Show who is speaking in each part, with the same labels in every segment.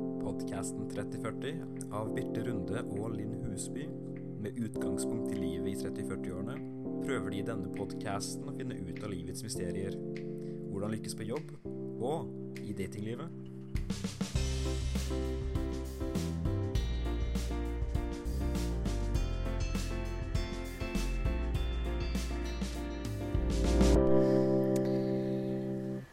Speaker 1: podkasten 3040 av Birte Runde og Linn Husby. Med utgangspunkt i livet i 30-40-årene prøver de i denne podkasten å finne ut av livets mysterier. Hvordan lykkes på jobb, og i datinglivet.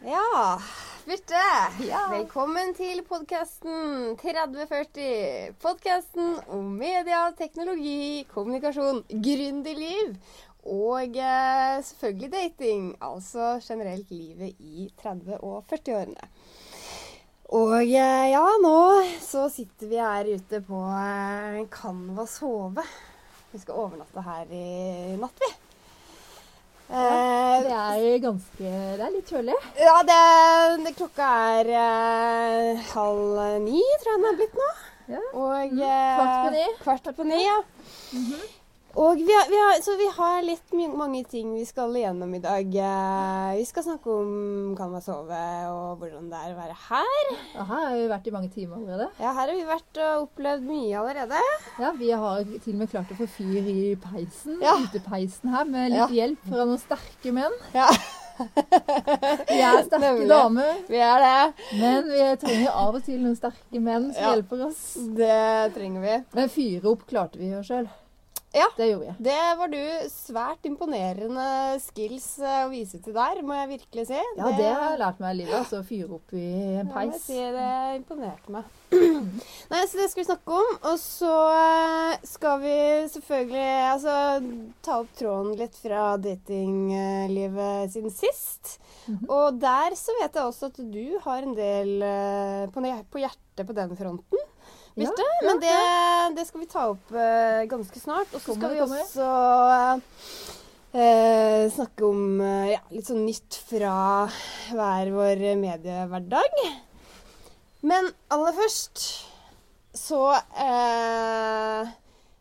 Speaker 2: Ja, Birte.
Speaker 3: Ja.
Speaker 2: Velkommen til podkasten 3040. Podkasten om media, teknologi, kommunikasjon, gründerliv og eh, selvfølgelig dating. Altså generelt livet i 30- og 40-årene. Og eh, ja, nå så sitter vi her ute på eh, Canvas Hove. Vi skal overnatte her i natt, vi. Eh,
Speaker 3: Det er ganske Det er litt kjølig.
Speaker 2: Ja, det, det klokka er eh, halv ni, tror jeg den er blitt nå.
Speaker 3: Ja. Mm.
Speaker 2: Og
Speaker 3: kvart på ni. Mm-hmm.
Speaker 2: eh, Kvart på ni, ja. Og vi har, vi har, så vi har litt my mange ting vi skal gjennom i dag. Eh, Vi skal snakke om kan man sove, og hvordan det er å være her.
Speaker 3: Ja, her har vi vært i mange timer allerede.
Speaker 2: Ja, her har vi vært og opplevd mye allerede.
Speaker 3: Ja, Vi har til og med klart å få fyr i peisen,
Speaker 2: Ja.
Speaker 3: utepeisen her, med litt
Speaker 2: Ja.
Speaker 3: hjelp fra noen sterke menn.
Speaker 2: Ja,
Speaker 3: Vi er sterke
Speaker 2: Nemlig.
Speaker 3: damer,
Speaker 2: vi er det.
Speaker 3: men vi trenger av og til noen sterke menn som
Speaker 2: Ja.
Speaker 3: hjelper oss.
Speaker 2: Det trenger vi.
Speaker 3: Men fyre opp klarte vi jo sjøl.
Speaker 2: Ja.
Speaker 3: Det gjorde jeg.
Speaker 2: Det var du svært imponerende skills eh, å vise til der, må jeg virkelig si.
Speaker 3: Ja, det har jeg lært meg i livet. Altså å fyre opp i
Speaker 2: Ja,
Speaker 3: en
Speaker 2: Jeg
Speaker 3: peis.
Speaker 2: sier det imponerte meg. Nei, så det skal vi snakke om. Og så eh, skal vi selvfølgelig altså, ta opp tråden litt fra datinglivet siden sist.
Speaker 3: Mhm.
Speaker 2: Og der så vet jeg også at du har en del eh, på, ned- på hjertet på den fronten.
Speaker 3: Ja,
Speaker 2: Birte. Men det, det skal vi ta opp eh, ganske snart. Og så
Speaker 3: Kommer,
Speaker 2: skal vi
Speaker 3: kommer.
Speaker 2: også eh, eh, snakke om eh, ja, litt sånn nytt fra hver vår mediehverdag. Men aller først så eh,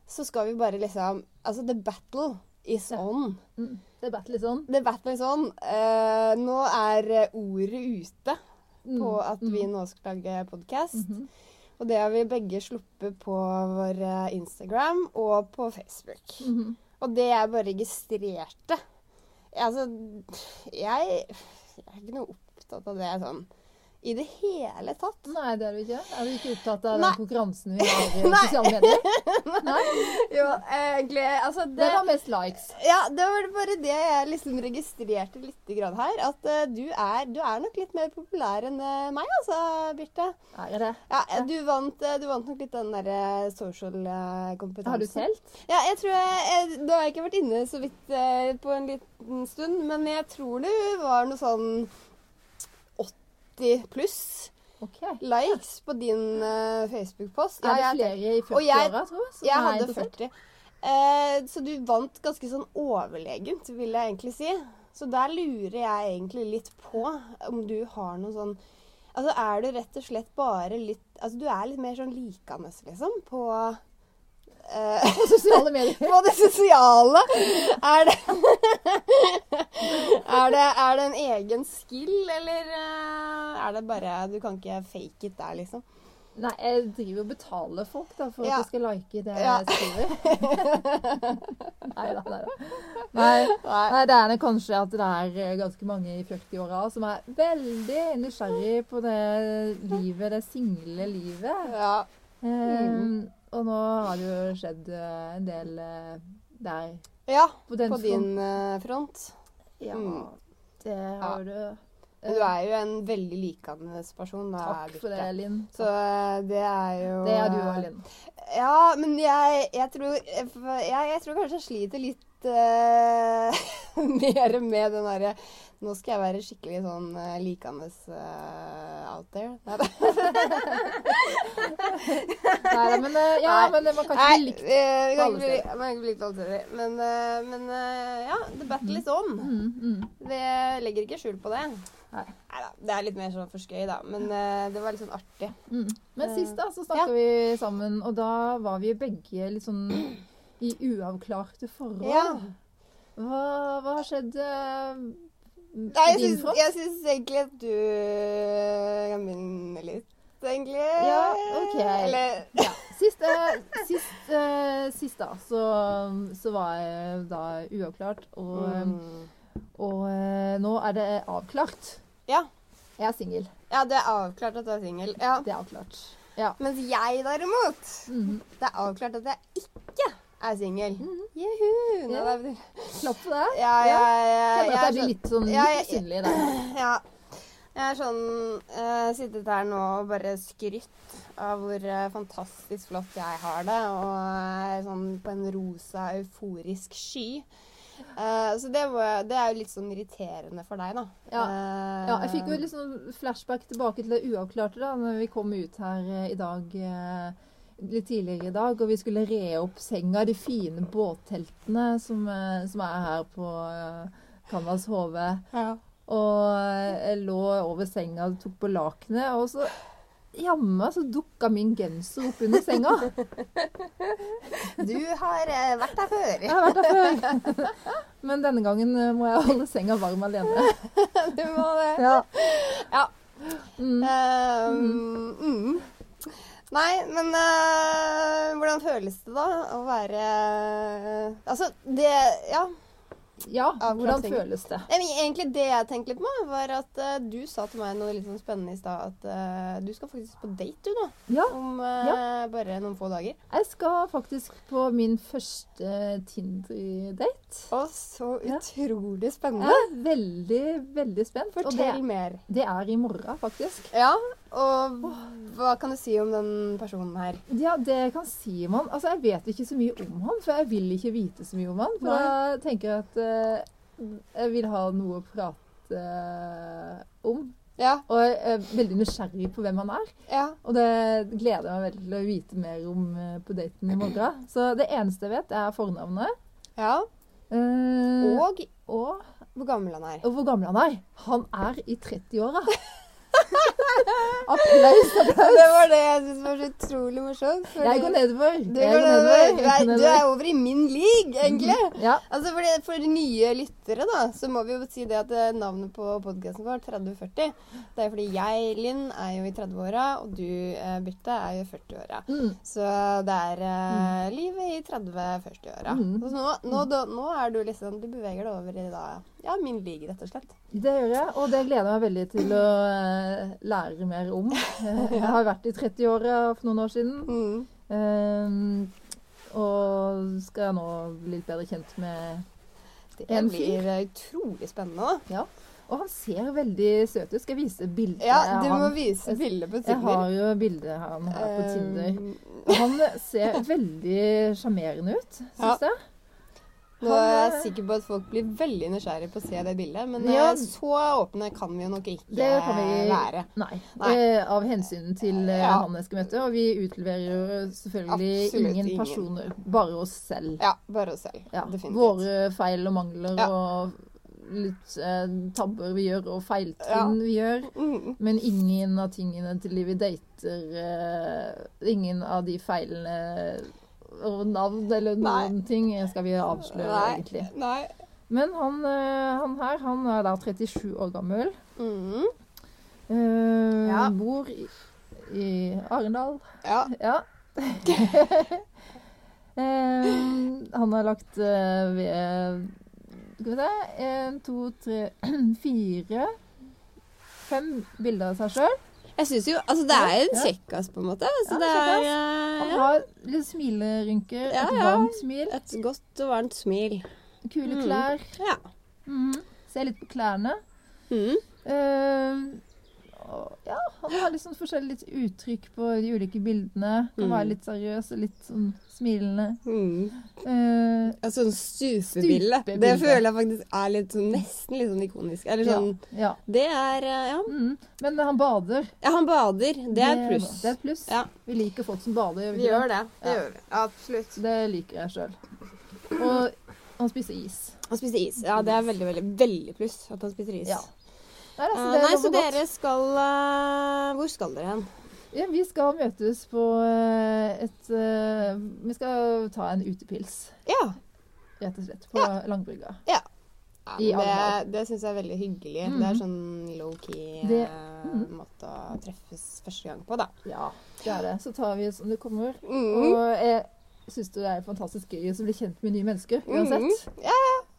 Speaker 2: Så skal vi bare liksom Altså, the battle is
Speaker 3: Ja.
Speaker 2: on.
Speaker 3: Mm. Det er bare litt sånn.
Speaker 2: The battle is on. Eh, nå er eh, ordet ute
Speaker 3: Mm. Mhm.
Speaker 2: på at vi nå skal lage podkast. Og det har vi begge sluppet på vår eh, Instagram og på Facebook.
Speaker 3: Mhm.
Speaker 2: Og det jeg bare registrerte Altså, jeg, jeg er ikke noe opptatt av det sånn i det hele tatt.
Speaker 3: Nei, det er du ikke. Er du ikke opptatt av
Speaker 2: Nei.
Speaker 3: den konkurransen vi har i
Speaker 2: Nei.
Speaker 3: sosiale medier? Nei.
Speaker 2: Jo, egentlig Altså, det,
Speaker 3: Hvem har mest likes?
Speaker 2: ja, det var bare det jeg liksom registrerte litt grann her. At eh, du, er, du er nok litt mer populær enn eh, meg, altså, Birte.
Speaker 3: Er jeg det?
Speaker 2: Ja, du vant, eh, du vant nok litt den derre social eh, kompetansen.
Speaker 3: Har du telt?
Speaker 2: Ja, jeg tror jeg, jeg Nå har jeg ikke vært inne så vidt eh, på en liten stund, men jeg tror det var noe sånn 80 pluss
Speaker 3: Ok.
Speaker 2: likes på din eh, Facebook-post.
Speaker 3: Er det
Speaker 2: Ja, jeg,
Speaker 3: flere i
Speaker 2: Og jeg-
Speaker 3: 40-åra, tror jeg? som
Speaker 2: jeg
Speaker 3: er
Speaker 2: hadde
Speaker 3: interessert?
Speaker 2: 40. Eh, så du vant ganske sånn overlegent, vil jeg egentlig si. Så der lurer jeg egentlig litt på om du har noe sånn Altså er du rett og slett bare litt Altså du er litt mer sånn likende, liksom, på eh,
Speaker 3: På sosiale medier.
Speaker 2: på det sosiale. Er det, er det Er det en egen skill, eller eh, er det bare Du kan ikke fake it der, liksom.
Speaker 3: Nei, jeg driver og betaler folk da, for
Speaker 2: Ja.
Speaker 3: at de skal like det
Speaker 2: Ja.
Speaker 3: jeg skriver. nei da, nei da. Nei. Nei, det er nok kanskje at det er eh, ganske mange i 40-åra som er veldig nysgjerrig på det livet, det single livet.
Speaker 2: Ja.
Speaker 3: Ehm, og nå har det jo skjedd eh, en del eh, der
Speaker 2: ja
Speaker 3: på den
Speaker 2: på
Speaker 3: fronten.
Speaker 2: din eh, front.
Speaker 3: Ja,
Speaker 2: Mm.
Speaker 3: det har du.
Speaker 2: Men Du er jo en veldig likende person. Da,
Speaker 3: Eh. Takk for det,
Speaker 2: Birte.
Speaker 3: Linn.
Speaker 2: Så eh, det er jo eh,
Speaker 3: Det er du òg, Linn.
Speaker 2: Ja, men jeg, jeg, tror, jeg, jeg tror kanskje jeg sliter litt eh, mer med den derre Nå skal jeg være skikkelig sånn uh, likende eh, out there. Nei, da.
Speaker 3: Nei, nei, men, eh, ja,
Speaker 2: Nei.
Speaker 3: men det var kanskje
Speaker 2: Nei,
Speaker 3: ikke likt.
Speaker 2: eh, vi
Speaker 3: på
Speaker 2: kan
Speaker 3: alle
Speaker 2: ikke bli- man kan ikke bli på alle steder. Men, eh, men eh, ja, the battle is on.
Speaker 3: Mm, mm.
Speaker 2: Det legger ikke skjul på det.
Speaker 3: Nei.
Speaker 2: Neida, det er litt mer sånn for skøy, da. Men eh, det var litt sånn artig.
Speaker 3: Mm. Men
Speaker 2: Eh,
Speaker 3: sist da, så snakka
Speaker 2: ja.
Speaker 3: vi sammen, og da var vi begge litt sånn i uavklarte forhold.
Speaker 2: Ja.
Speaker 3: Hva, hva har skjedd eh,
Speaker 2: Nei,
Speaker 3: i din
Speaker 2: jeg
Speaker 3: front?
Speaker 2: syns egentlig at du kan eh, begynne litt. egentlig.
Speaker 3: Ja, ok.
Speaker 2: Eller
Speaker 3: Ja. Sist, eh, sist, eh, sist da, så, så var jeg da uavklart, og,
Speaker 2: Mm.
Speaker 3: og eh, nå er det avklart.
Speaker 2: Ja.
Speaker 3: Jeg er singel.
Speaker 2: Ja, det er avklart at du er singel. Ja.
Speaker 3: Det er avklart.
Speaker 2: Mens jeg derimot,
Speaker 3: Mhm.
Speaker 2: det er avklart at jeg ikke er singel.
Speaker 3: Mhm.
Speaker 2: Juhu! Nå
Speaker 3: Ja.
Speaker 2: er vi-
Speaker 3: Klapp på det.
Speaker 2: Ja, ja, ja,
Speaker 3: Kjenner at jeg
Speaker 2: er
Speaker 3: blir litt sånn
Speaker 2: Ja, jeg-
Speaker 3: litt usynlig der.
Speaker 2: sånn- ja. Jeg er sånn eh, Sittet her nå og bare skrytt av hvor eh, fantastisk flott jeg har det. Og er sånn på en rosa, euforisk sky. Eh, så det, var, det er jo litt sånn irriterende for deg, da.
Speaker 3: Ja.
Speaker 2: Eh,
Speaker 3: Ja, jeg fikk jo litt sånn flashback tilbake til det uavklarte da når vi kom ut her eh, i dag. eh, Litt tidligere i dag, og vi skulle re opp senga, de fine båtteltene som, eh, som er her på eh, Canvas HV.
Speaker 2: ja.
Speaker 3: Og eh, jeg lå over senga og tok på lakenet, og så jammen så dukka min genser opp under senga.
Speaker 2: Du har eh, vært der før.
Speaker 3: Jeg har vært der før. Men denne gangen eh, må jeg holde senga varm alene.
Speaker 2: Du må det.
Speaker 3: Ja.
Speaker 2: Ja.
Speaker 3: Mm.
Speaker 2: Ehm, mm. Nei, men eh, hvordan føles det da å være Altså, det Ja.
Speaker 3: ja, hvordan
Speaker 2: Avklaring.
Speaker 3: føles det?
Speaker 2: Nei, men Egentlig det jeg tenkte litt på, var at eh, du sa til meg noe litt sånn spennende i stad. At eh, du skal faktisk på date, du nå.
Speaker 3: Ja,
Speaker 2: Om eh, bare noen få dager.
Speaker 3: jeg skal faktisk på min første Tinder-date.
Speaker 2: Å, så
Speaker 3: Ja.
Speaker 2: utrolig
Speaker 3: Jeg
Speaker 2: spennende.
Speaker 3: er veldig, veldig spent. Og det,
Speaker 2: Fortell mer.
Speaker 3: det er i morgen, faktisk.
Speaker 2: Ja, og hva kan du si om den personen her?
Speaker 3: Ja, det jeg kan si om han Altså, jeg vet ikke så mye om han, for jeg vil ikke vite så mye om han. For
Speaker 2: Nei.
Speaker 3: da tenker jeg at eh, jeg vil ha noe å prate eh, om.
Speaker 2: Ja,
Speaker 3: Og jeg er veldig nysgjerrig på hvem han er.
Speaker 2: ja.
Speaker 3: Og det gleder jeg meg veldig til å vite mer om eh, på daten i morgen. Så det eneste jeg vet, er fornavnet.
Speaker 2: ja.
Speaker 3: Eh,
Speaker 2: Og
Speaker 3: og,
Speaker 2: hvor gammel han er.
Speaker 3: og hvor gammel han er. Han er i 30-åra. Applaus.
Speaker 2: Det var det jeg syntes var så utrolig morsomt. fordi-
Speaker 3: Jeg går nedover.
Speaker 2: Du,
Speaker 3: Jeg
Speaker 2: går nedover. Du,
Speaker 3: Jeg
Speaker 2: er,
Speaker 3: går Mhm.
Speaker 2: du er over i min league, egentlig.
Speaker 3: Ja.
Speaker 2: Altså for, det, for de nye lyttere da, så må vi jo si det at eh, navnet på podkasten vår, 3040, det er fordi jeg, Linn, er jo i 30-åra, og du, eh, Birte, er jo i 40-åra.
Speaker 3: Mm.
Speaker 2: Så det er eh,
Speaker 3: Mhm.
Speaker 2: livet i 30-40-åra.
Speaker 3: Mm.
Speaker 2: Så nå, nå, da- nå er du liksom Du beveger deg over i da, ja, min league, rett og slett.
Speaker 3: Det gjør jeg, og det gleder jeg meg veldig til å eh, lære mer om. Eh, Jeg har vært i 30-åra for noen år siden,
Speaker 2: Mm.
Speaker 3: eh, og skal nå bli litt bedre kjent med
Speaker 2: Det
Speaker 3: En fyr.
Speaker 2: blir eh, utrolig spennende, da.
Speaker 3: Og han ser veldig søt ut. Skal jeg vise bildet
Speaker 2: Ja,
Speaker 3: av
Speaker 2: du må
Speaker 3: han?
Speaker 2: vise bildet på
Speaker 3: Jeg
Speaker 2: Tinder.
Speaker 3: har jo bildet av han her på Tinder.
Speaker 2: Um,
Speaker 3: Og han ser veldig sjarmerende ut,
Speaker 2: Ja.
Speaker 3: syns jeg.
Speaker 2: Nå
Speaker 3: Han,
Speaker 2: er jeg
Speaker 3: eh,
Speaker 2: sikker på at folk blir veldig nysgjerrige på å se det bildet, men
Speaker 3: Ja.
Speaker 2: eh, så åpne kan vi jo nok ikke eh,
Speaker 3: Det kan vi-
Speaker 2: være.
Speaker 3: Nei.
Speaker 2: Nei.
Speaker 3: Eh, av hensyn til eh,
Speaker 2: Ja.
Speaker 3: han jeg skal møte. Og vi utleverer jo selvfølgelig
Speaker 2: Absolutt
Speaker 3: ingen
Speaker 2: ingen.
Speaker 3: personer, bare oss selv.
Speaker 2: Ja, bare oss selv.
Speaker 3: Ja,
Speaker 2: Definitivt.
Speaker 3: Våre feil og mangler
Speaker 2: Ja.
Speaker 3: og litt eh, tabber vi gjør, og feiltrinn vi gjør.
Speaker 2: Mm.
Speaker 3: Men ingen av tingene til de vi dater eh, Ingen av de feilene og navn eller
Speaker 2: Nei.
Speaker 3: noen ting skal vi avsløre,
Speaker 2: Nei.
Speaker 3: egentlig.
Speaker 2: Nei.
Speaker 3: Men han, eh, han her, han er da 37 år gammel.
Speaker 2: Mm.
Speaker 3: eh,
Speaker 2: Ja.
Speaker 3: Bor i, i Arendal.
Speaker 2: Ja.
Speaker 3: Ja. Ehm, han har lagt eh, ved Skal vi se En, to, tre, fire Fem bilder av seg sjøl.
Speaker 2: Jeg syns jo Altså, det er en
Speaker 3: Ja.
Speaker 2: kjekkas, på en måte.
Speaker 3: Ja,
Speaker 2: Så det
Speaker 3: kjekkas.
Speaker 2: er
Speaker 3: Han
Speaker 2: eh, ja,
Speaker 3: har litt smilerynker,
Speaker 2: Ja,
Speaker 3: et
Speaker 2: ja.
Speaker 3: varmt smil,
Speaker 2: et godt og varmt smil.
Speaker 3: kule
Speaker 2: Mm.
Speaker 3: klær.
Speaker 2: Ja.
Speaker 3: Mhm. Ser litt på klærne.
Speaker 2: Mm.
Speaker 3: Ehm, og ja, han har litt sånn forskjellig litt uttrykk på de ulike bildene. Han
Speaker 2: Mm.
Speaker 3: var litt seriøs og litt sånn smilende.
Speaker 2: Mm.
Speaker 3: Ehm,
Speaker 2: Et sånn stupebilde. Det
Speaker 3: Stupebilde.
Speaker 2: føler jeg faktisk er litt sånn, nesten litt sånn ikonisk. Eller sånn
Speaker 3: ja.
Speaker 2: Det er eh, ja.
Speaker 3: Mm. Men han bader.
Speaker 2: ja, han bader. Det er pluss.
Speaker 3: Det er et pluss.
Speaker 2: Ja.
Speaker 3: Vi liker folk som bader. Gjør vi
Speaker 2: Vi
Speaker 3: ikke det?
Speaker 2: gjør det. Det
Speaker 3: Ja.
Speaker 2: gjør vi. Absolutt.
Speaker 3: Det liker jeg sjøl. Og han spiser is.
Speaker 2: Han spiste is. Ja, det er veldig, veldig, veldig pluss at han spiser is.
Speaker 3: Ja. Nei, altså,
Speaker 2: Eh,
Speaker 3: det
Speaker 2: nei,
Speaker 3: lover
Speaker 2: så
Speaker 3: godt.
Speaker 2: dere skal eh, Hvor skal dere hen?
Speaker 3: ja, Vi skal møtes på eh, et eh, Vi skal ta en utepils,
Speaker 2: Ja.
Speaker 3: rett og slett, på Langbrygga.
Speaker 2: ja
Speaker 3: I
Speaker 2: men det
Speaker 3: Arendal.
Speaker 2: det syns jeg er veldig hyggelig.
Speaker 3: Mhm.
Speaker 2: Det er sånn low-key eh,
Speaker 3: Det Mhm.
Speaker 2: måte å treffes første gang på, da.
Speaker 3: Ja, det er det. Så tar vi det som det kommer.
Speaker 2: Mm.
Speaker 3: Og jeg syns det er fantastisk gøy å bli kjent med nye mennesker uansett.
Speaker 2: Mhm.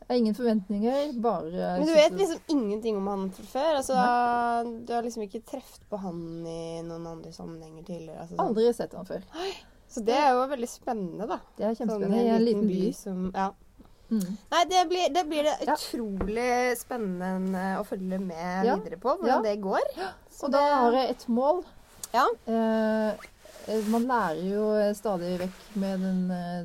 Speaker 3: Det er ingen forventninger, bare
Speaker 2: Men du
Speaker 3: synes
Speaker 2: vet
Speaker 3: det-
Speaker 2: liksom ingenting om han fra før? Altså, du har liksom ikke truffet på han i noen andre sammenhenger tidligere? Altså, sånn.
Speaker 3: Aldri sett han før.
Speaker 2: Så det er jo veldig spennende, da.
Speaker 3: Det er
Speaker 2: Sånn
Speaker 3: kjempespennende. I en liten by.
Speaker 2: som Ja.
Speaker 3: Mm.
Speaker 2: Nei, det blir det, blir det
Speaker 3: Ja.
Speaker 2: utrolig spennende eh, å følge med
Speaker 3: Ja.
Speaker 2: videre på hvordan
Speaker 3: Ja.
Speaker 2: det går. Så
Speaker 3: Og da
Speaker 2: det-
Speaker 3: har jeg et mål.
Speaker 2: Ja.
Speaker 3: Eh, eh, man lærer jo eh, stadig vekk med den eh,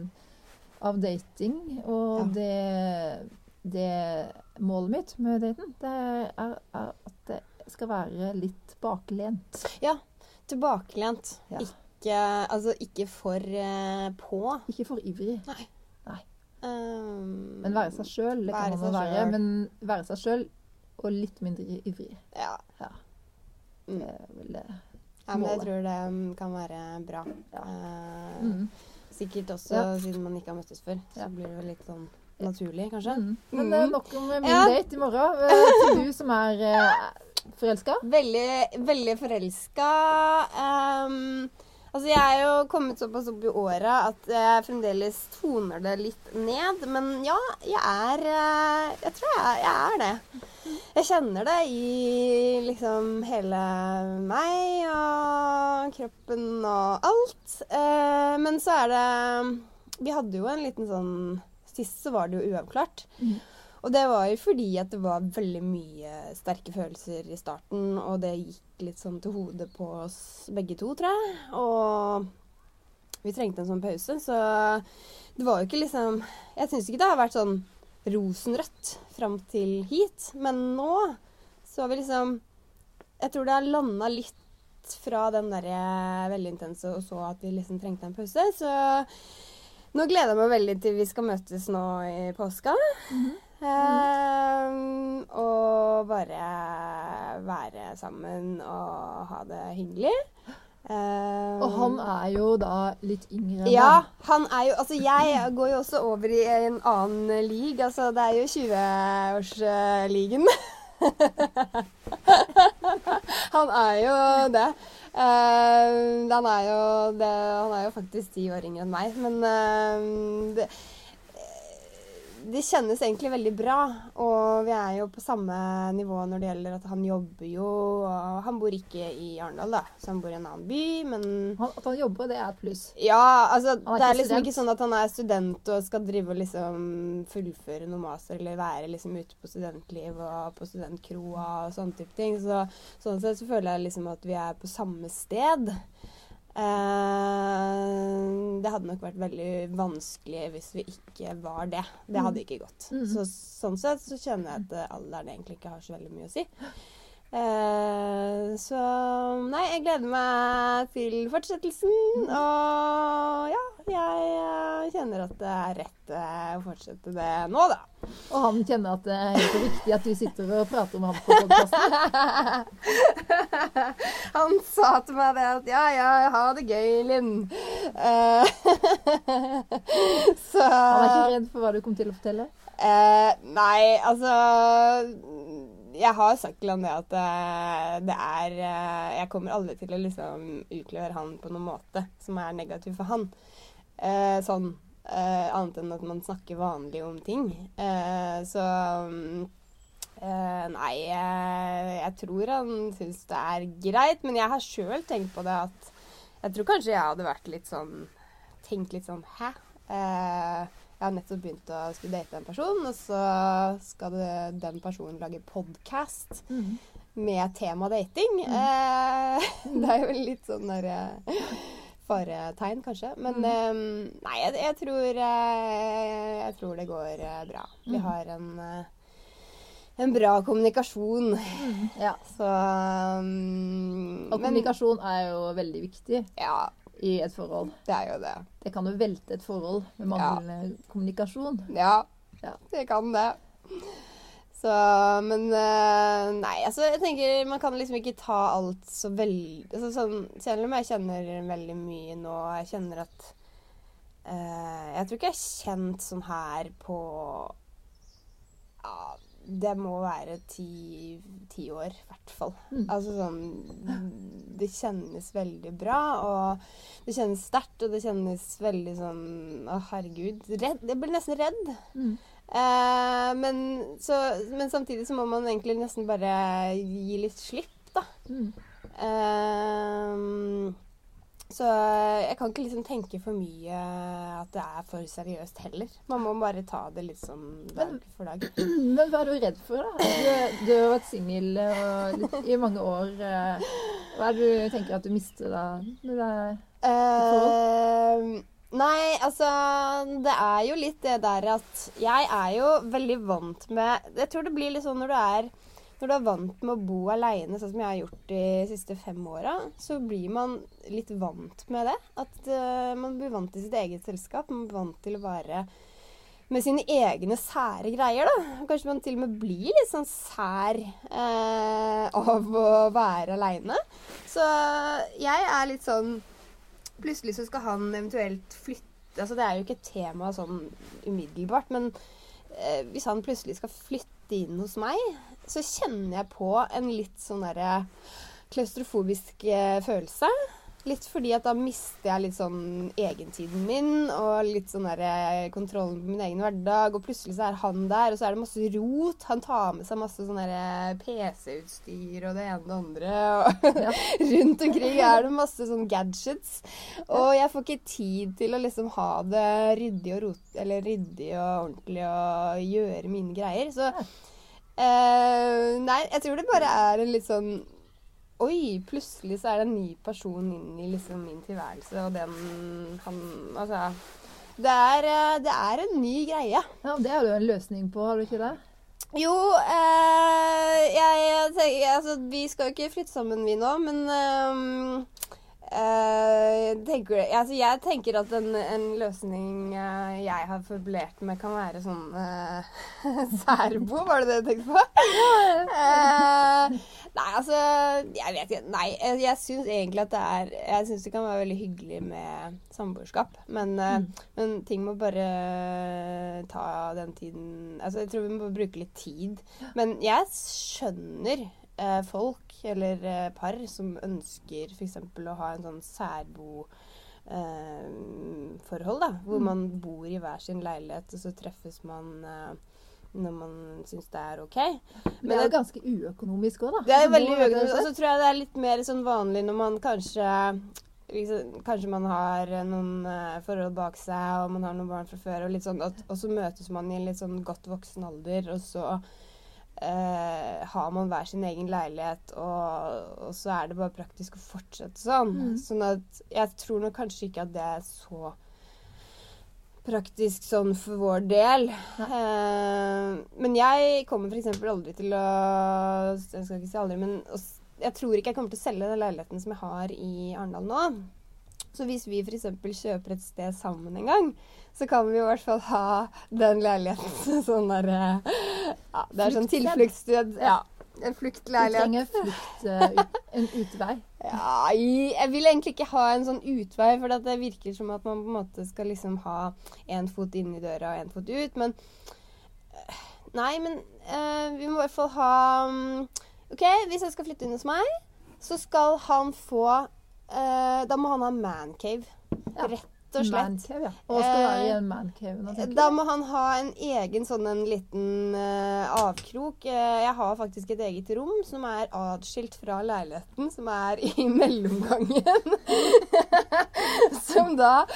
Speaker 3: av dating, og det, det målet mitt med daten, det er, er at det skal være litt baklent.
Speaker 2: Tilbakelent.
Speaker 3: Ja.
Speaker 2: Ikke, altså, ikke for eh, på.
Speaker 3: Ikke for ivrig,
Speaker 2: Um,
Speaker 3: men være seg sjøl. Det
Speaker 2: Være
Speaker 3: kan man
Speaker 2: seg
Speaker 3: jo være,
Speaker 2: selv.
Speaker 3: men være seg sjøl og litt mindre ivrig.
Speaker 2: Ja.
Speaker 3: Det er vel det.
Speaker 2: ja, men jeg
Speaker 3: Målet.
Speaker 2: tror det mm, kan være bra.
Speaker 3: Ja.
Speaker 2: Eh,
Speaker 3: Mm.
Speaker 2: Sikkert også
Speaker 3: Ja.
Speaker 2: siden man ikke har møttes før. Så
Speaker 3: Ja.
Speaker 2: blir det vel litt sånn naturlig, kanskje.
Speaker 3: Mm. Men
Speaker 2: Mm.
Speaker 3: det er nok om eh, min
Speaker 2: Ja.
Speaker 3: date i morgen. Eh, Til du som er eh, forelska.
Speaker 2: Veldig, veldig forelska. ehm, altså, jeg er jo kommet såpass opp i åra at jeg fremdeles toner det litt ned. Men ja, jeg er eh, Jeg tror jeg, jeg er det. Jeg kjenner det i liksom hele meg og kroppen og alt. Eh, men så er det Vi hadde jo en liten sånn Sist så var det jo uavklart. Og det var jo fordi at det var veldig mye sterke følelser i starten, og det gikk litt sånn til hodet på oss begge to, tror jeg. Og vi trengte en sånn pause, så det var jo ikke liksom Jeg syns ikke det har vært sånn rosenrødt fram til hit, men nå så har vi liksom Jeg tror det har landa litt fra den derre veldig intense og så at vi liksom trengte en pause, så nå gleder jeg meg veldig til vi skal møtes nå i påska. Ehm, og bare være sammen og ha det hyggelig. Ehm,
Speaker 3: Og han er jo da litt yngre enn
Speaker 2: ja,
Speaker 3: deg.
Speaker 2: han er jo Altså, jeg går jo også over i en annen league. Altså, det er jo 20-årsligaen. han er jo det. Eh, han er jo det. Han er jo faktisk ti år yngre enn meg, men eh, det det kjennes egentlig veldig bra, og vi er jo på samme nivå når det gjelder at han jobber jo, og han bor ikke i Arendal, da, så han bor i en annen by, men
Speaker 3: Han, at han jobber, det er et pluss.
Speaker 2: ja, altså
Speaker 3: Han er
Speaker 2: det
Speaker 3: ikke
Speaker 2: er liksom
Speaker 3: student.
Speaker 2: ikke sånn at han er student og skal drive og liksom fullføre noe master eller være liksom ute på studentliv og på studentkroa og sånne type ting. Så sånn sett så føler jeg liksom at vi er på samme sted. Eh, det hadde nok vært veldig vanskelig hvis vi ikke var det. Det hadde ikke gått.
Speaker 3: Mm.
Speaker 2: Så sånn sett så kjenner jeg at eh, alderen egentlig ikke har så veldig mye å si. Eh, så Nei, jeg gleder meg til fortsettelsen. Og ja, jeg eh, kjenner at det er rett eh, å fortsette det nå, da.
Speaker 3: Og han kjenner at eh, det er helt riktig at du sitter og prater med ham på podkasten.
Speaker 2: Han sa til meg det at ja, ja, ha det gøy, Linn. Eh, så
Speaker 3: Han er ikke redd for hva du kom til å fortelle.
Speaker 2: Eh, nei, altså Jeg har sagt til han det at eh, det er eh, Jeg kommer aldri til å liksom utlevere han på noen måte som er negativ for han. Eh, sånn. Eh, annet enn at man snakker vanlig om ting. Eh, så mm, eh, Nei, eh, jeg tror han syns det er greit, men jeg har sjøl tenkt på det at Jeg tror kanskje jeg hadde vært litt sånn Tenkt litt sånn Hæ? Eh, jeg har nettopp begynt å skulle date en person, og så skal det, den personen lage podkast
Speaker 3: Mm.
Speaker 2: med tema dating. Eh, det er jo litt sånn der eh, faretegn, kanskje.
Speaker 3: Mm.
Speaker 2: Men eh, nei, jeg, jeg, tror, eh, jeg tror det går eh, bra.
Speaker 3: Mm.
Speaker 2: Vi har en, eh, en bra kommunikasjon.
Speaker 3: Ja.
Speaker 2: Så um,
Speaker 3: Og kommunikasjon er jo veldig viktig
Speaker 2: Ja,
Speaker 3: i et forhold.
Speaker 2: det er jo det.
Speaker 3: Det kan jo velte et forhold med manglende kommunikasjon.
Speaker 2: Ja,
Speaker 3: Ja.
Speaker 2: det kan det. Så, men eh, Nei, altså, jeg tenker man kan liksom ikke ta alt så veldig altså, sånn, Selv om jeg kjenner veldig mye nå, jeg kjenner at eh, Jeg tror ikke jeg er kjent sånn her på ja, Det må være ti, ti år, i hvert fall.
Speaker 3: Mm.
Speaker 2: Altså sånn Det kjennes veldig bra, og det kjennes sterkt, og det kjennes veldig sånn Å, herregud. Redd. Jeg blir nesten redd.
Speaker 3: Mm.
Speaker 2: Eh, men, så, men samtidig så må man egentlig nesten bare gi litt slipp, da.
Speaker 3: Mm.
Speaker 2: Ehm, så jeg kan ikke liksom tenke for mye at det er for seriøst heller. Man må bare ta det litt sånn dag for dag.
Speaker 3: Men hva er du redd for, da? Du, du har vært singel og litt- i mange år. eh, Hva er det du tenker at du mister da? Når det er
Speaker 2: Ehm, nei, altså Det er jo litt det der at Jeg er jo veldig vant med Jeg tror det blir litt sånn når du er når du er vant med å bo aleine, sånn som jeg har gjort de siste fem åra, så blir man litt vant med det. At eh, man blir vant til sitt eget selskap. Man blir vant til å være med sine egne sære greier, da. Kanskje man til og med blir litt sånn sær eh, av å være aleine. Så jeg er litt sånn Plutselig så skal han eventuelt flytte Altså det er jo ikke et tema sånn umiddelbart, men eh, hvis han plutselig skal flytte inn hos meg, så kjenner jeg på en litt sånn derre klaustrofobisk eh, følelse. Litt fordi at da mister jeg litt sånn egentiden min og litt sånn derre kontrollen på min egen hverdag. Og plutselig så er han der, og så er det masse rot. Han tar med seg masse sånn derre PC-utstyr og det ene og det andre. Og
Speaker 3: Ja.
Speaker 2: rundt omkring er det masse sånn gadgets. Og jeg får ikke tid til å liksom ha det ryddig og, rot, eller ryddig og ordentlig og gjøre mine greier. Så eh, Nei, jeg tror det bare er en litt sånn Oi, plutselig så er det en ny person inn i liksom min tilværelse, og den han Altså. Det er, eh, det er en ny greie.
Speaker 3: Ja, det har du en løsning på, har du ikke det?
Speaker 2: Jo, eh, jeg, jeg tenker Altså, vi skal jo ikke flytte sammen, vi nå, men ehm, eh, tenker, du- altså, Jeg tenker at en, en løsning eh, jeg har formulert meg, kan være sånn eh, særbo, var det det du tenkte på? Eh, nei, altså Jeg vet ikke. Nei, jeg, jeg syns egentlig at det er Jeg syns det kan være veldig hyggelig med samboerskap, men, eh, men ting må bare ta den tiden Altså, jeg tror vi må bruke litt tid. Men jeg skjønner eh, folk, eller eh, par, som ønsker f.eks. å ha en sånn særbo eh, forhold, da. Hvor
Speaker 3: Mm.
Speaker 2: man bor i hver sin leilighet, og så treffes man eh, når man syns det er OK.
Speaker 3: Men det er jo ganske uøkonomisk òg, da.
Speaker 2: Det er jo
Speaker 3: Så
Speaker 2: veldig
Speaker 3: nå det
Speaker 2: uøkonomisk.
Speaker 3: sånn.
Speaker 2: Og så tror jeg det er litt mer sånn vanlig når man kanskje liksom, Kanskje man har eh, noen eh, forhold bak seg, og man har noen barn fra før, og, litt sånn, at, og så møtes man i en litt sånn godt voksen alder, og så eh, har man hver sin egen leilighet, og, og så er det bare praktisk å fortsette sånn.
Speaker 3: Mm.
Speaker 2: Sånn at jeg tror nok kanskje ikke at det er så praktisk sånn for vår del. Eh, men jeg kommer f.eks. aldri til å Jeg skal ikke si aldri, men å s- jeg tror ikke jeg kommer til å selge den leiligheten som jeg har i Arendal nå. Så hvis vi f.eks. kjøper et sted sammen en gang, så kan vi i hvert fall ha den leiligheten som sånn der eh, ja, Det er sånn
Speaker 3: Fluktsted.
Speaker 2: tilfluktssted. Ja. En
Speaker 3: Du
Speaker 2: fluktleilighet.
Speaker 3: trenger flukt, eh, ut, en utvei.
Speaker 2: Ja, jeg jeg vil egentlig ikke ha en sånn utvei, for at det virker som at man på en måte skal liksom ha én fot inn i døra og én fot ut, men øh, Nei, men øh, vi må i hvert fall ha mm, OK, hvis jeg skal flytte inn hos meg, så skal han få øh, Da må han ha mancave.
Speaker 3: Ja.
Speaker 2: Rett og slett.
Speaker 3: Mancave, ja. Og skal være i en mancave. nå, tenker jeg.
Speaker 2: Da må han ha en egen sånn en liten eh, avkrok. Eh, jeg har faktisk et eget rom som er atskilt fra leiligheten, som er i mellomgangen. som da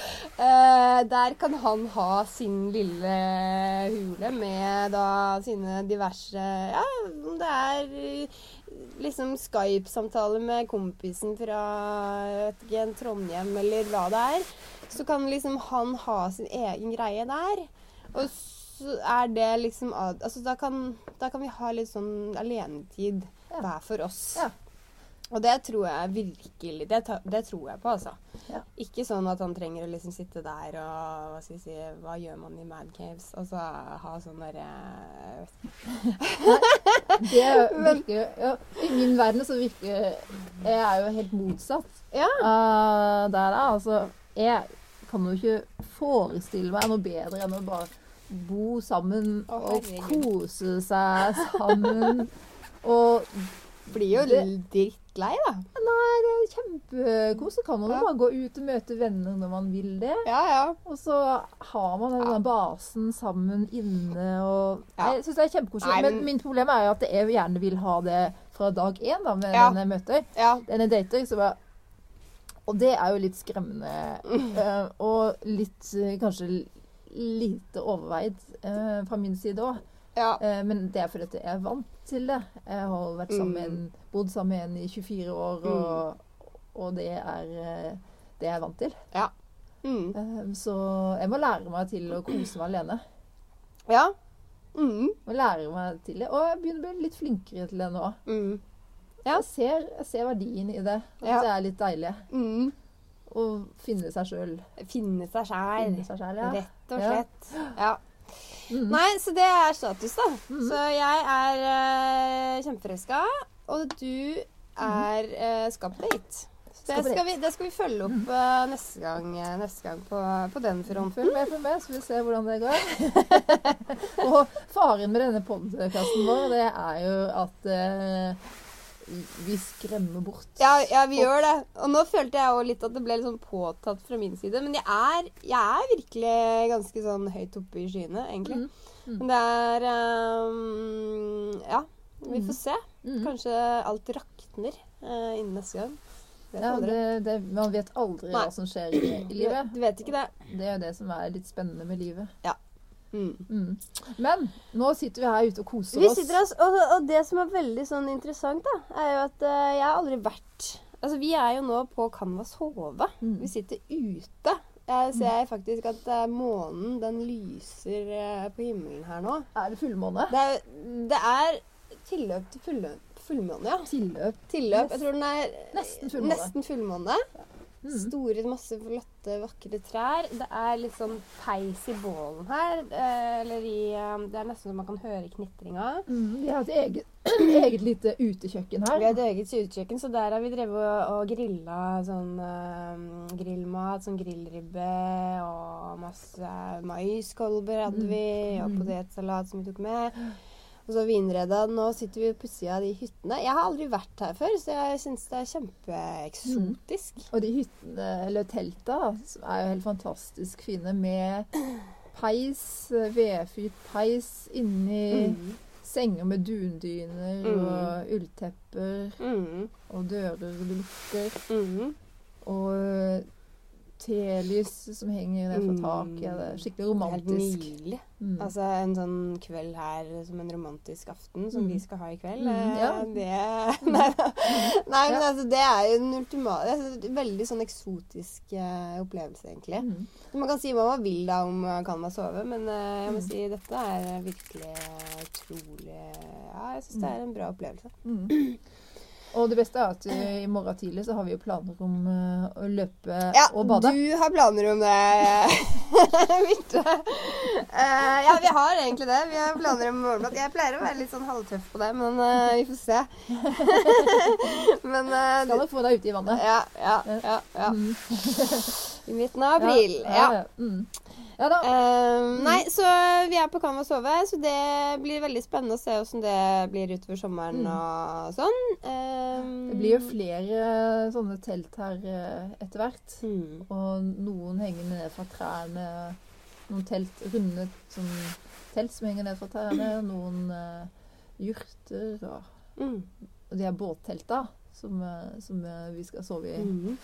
Speaker 2: eh, Der kan han ha sin lille hule med da sine diverse Ja, om det er eh, liksom Skype-samtale med kompisen fra jeg vet ikke, en Trondheim eller hva det er, så kan liksom han ha sin egen greie der. Og så er det liksom ad- Altså da kan, da kan vi ha litt sånn alenetid
Speaker 3: Ja.
Speaker 2: hver for oss.
Speaker 3: Ja.
Speaker 2: Og det tror jeg virkelig Det, ta- det tror jeg på, altså.
Speaker 3: Ja.
Speaker 2: Ikke sånn at han trenger å liksom sitte der og Hva skal jeg si Hva gjør man i Mad Caves? Altså ha sånn eh, derre
Speaker 3: Det virker jo ja, I min verden så virker Jeg er jo helt motsatt
Speaker 2: Ja.
Speaker 3: Eh, av der, da. Altså, jeg kan jo ikke forestille meg noe bedre enn å bare bo sammen
Speaker 2: Å,
Speaker 3: og
Speaker 2: herregud.
Speaker 3: kose seg sammen. Og
Speaker 2: Blir jo
Speaker 3: Det-
Speaker 2: drittlei, da.
Speaker 3: nei, det er kjempekos. Så kan man jo
Speaker 2: Ja.
Speaker 3: bare gå ut og møte venner når man vil det.
Speaker 2: Ja, ja.
Speaker 3: Og så har man den
Speaker 2: Ja.
Speaker 3: der basen sammen inne og
Speaker 2: Ja.
Speaker 3: Jeg syns det er kjempekoselig.
Speaker 2: Nei,
Speaker 3: Men
Speaker 2: men-
Speaker 3: min problem er jo at jeg gjerne vil ha det fra dag én, da, med
Speaker 2: Ja.
Speaker 3: denne møter.
Speaker 2: ja.
Speaker 3: Denne dater. Så bare Og det er jo litt skremmende.
Speaker 2: Mm.
Speaker 3: eh, og litt eh, Kanskje lite overveid eh, fra min side òg.
Speaker 2: ja.
Speaker 3: men det er fordi at jeg er vant til det. Jeg har jo vært sammen med en,
Speaker 2: Mm.
Speaker 3: bodd sammen med en i 24 år, og, og det er eh, det jeg er vant til.
Speaker 2: Mm.
Speaker 3: Ehm, Så jeg må lære meg til å kose meg alene.
Speaker 2: Ja. Mm.
Speaker 3: Jeg Må lære meg til det. Og jeg begynner å bli litt flinkere til det nå.
Speaker 2: Mm. Ja.
Speaker 3: Jeg ser, jeg ser verdien i det. At
Speaker 2: Ja.
Speaker 3: det er litt deilig
Speaker 2: Mm.
Speaker 3: å finne seg sjøl.
Speaker 2: Finne seg sjæl.
Speaker 3: Finne seg selv, ja.
Speaker 2: Rett og
Speaker 3: Ja.
Speaker 2: slett. Ja.
Speaker 3: Mm.
Speaker 2: Nei, så det er status, da.
Speaker 3: Mhm.
Speaker 2: Så jeg er uh, kjempeforelska, og du er uh, skapt date. Så
Speaker 3: Mhm.
Speaker 2: det
Speaker 3: Skal på Mhm.
Speaker 2: skal, vi, det skal vi følge opp eh, neste gang, eh, neste gang på, på den fronten.
Speaker 3: Følg med, følg med, så vi ser hvordan det går. og faren med denne podkasten vår, det er jo at eh, vi skremmer bort
Speaker 2: Ja, ja, vi gjør det. Og nå følte jeg også litt at det ble litt sånn påtatt fra min side. Men jeg er, jeg er virkelig ganske sånn høyt oppe i skyene, egentlig.
Speaker 3: Mhm. Mhm.
Speaker 2: Men det er eh, Ja, vi får se.
Speaker 3: Mhm.
Speaker 2: Kanskje alt rakner eh, innen neste gang. Vet
Speaker 3: Ja,
Speaker 2: aldri.
Speaker 3: det, det, man vet aldri
Speaker 2: Nei.
Speaker 3: hva som skjer i, i livet.
Speaker 2: Du vet ikke det.
Speaker 3: Det er jo det som er litt spennende med livet.
Speaker 2: Mm.
Speaker 3: Mm. Men nå sitter vi her ute og koser
Speaker 2: Vi
Speaker 3: oss.
Speaker 2: sitter oss, og, og det som er veldig sånn interessant, da, er jo at eh, jeg har aldri vært Altså, vi er jo nå på Canvas Hove.
Speaker 3: Mm.
Speaker 2: Vi sitter ute. Jeg ser faktisk at eh, månen, den lyser eh, på himmelen her nå.
Speaker 3: Er det fullmåne?
Speaker 2: Det er, det er tilløp til fullø- fullmåne, ja.
Speaker 3: Tilløp.
Speaker 2: Tilløp. Jeg tror den er
Speaker 3: Nesten fullmåne.
Speaker 2: Nesten fullmåne.
Speaker 3: Mm.
Speaker 2: Store, masse flotte, vakre trær. Det er litt sånn peis i bålen her. eh, Eller i eh, Det er nesten så man kan høre knitringa.
Speaker 3: Mm. Vi har et eget, eget lite utekjøkken
Speaker 2: Vi har
Speaker 3: her.
Speaker 2: et eget sydekjøkken, så der har vi drevet og, og grilla sånn eh, grillmat, sånn grillribbe og masse maiskolber hadde vi, og
Speaker 3: Mm.
Speaker 2: potetsalat som vi tok med. Og så har vi innreda. Nå sitter vi på sida av de hyttene. Jeg har aldri vært her før, så jeg syns det er kjempeeksotisk.
Speaker 3: Og de hyttene, eller telta, da, som er jo helt fantastisk fine med peis, vedfyrt peis inni
Speaker 2: Mm.
Speaker 3: senger med dundyner
Speaker 2: Mm.
Speaker 3: og ulltepper
Speaker 2: Mm.
Speaker 3: og dører du lukker
Speaker 2: Mm.
Speaker 3: og telys som henger ned fra
Speaker 2: Mm.
Speaker 3: taket. Det er
Speaker 2: Helt
Speaker 3: skikkelig romantisk.
Speaker 2: nydelig.
Speaker 3: Mm.
Speaker 2: Altså en sånn kveld her som en romantisk aften som
Speaker 3: Mm.
Speaker 2: vi skal ha i kveld.
Speaker 3: Mm,
Speaker 2: eh,
Speaker 3: ja.
Speaker 2: Det Nei, da. Nei men
Speaker 3: Ja.
Speaker 2: altså, det er jo den ultimate altså, Veldig sånn eksotisk eh, opplevelse, egentlig.
Speaker 3: Mm.
Speaker 2: Man kan si hva man vil da om man kan man sove, men eh, jeg må
Speaker 3: Mm.
Speaker 2: si dette er virkelig eh, utrolig Ja, jeg syns det er en bra opplevelse.
Speaker 3: Mm. Og det beste er at eh, i morgen tidlig så har vi jo planer om eh, å løpe
Speaker 2: Ja,
Speaker 3: og bade.
Speaker 2: du har planer om det, Birte. Eh, ja, vi har egentlig det. Vi har planer om morgenblad. Jeg pleier å være litt sånn halvtøff på det, men eh, vi får se. men eh,
Speaker 3: Skal nok få deg ute i vannet.
Speaker 2: ja, ja, ja, ja.
Speaker 3: Mm.
Speaker 2: I midten av april. Ja.
Speaker 3: ja. Mm. ja da.
Speaker 2: Eh, nei, så vi er på Canvas Sove, så det blir veldig spennende å se hvordan det blir utover sommeren
Speaker 3: Mm.
Speaker 2: og sånn. Eh,
Speaker 3: Det blir jo flere sånne telt her eh, etter hvert.
Speaker 2: Mm.
Speaker 3: Og noen henger ned fra trærne. Noen telt, runde sånn telt som henger ned fra trærne. og Noen eh, jurter. Og,
Speaker 2: Mm.
Speaker 3: og de her båttelta som, eh, som eh, vi skal sove i
Speaker 2: Mm.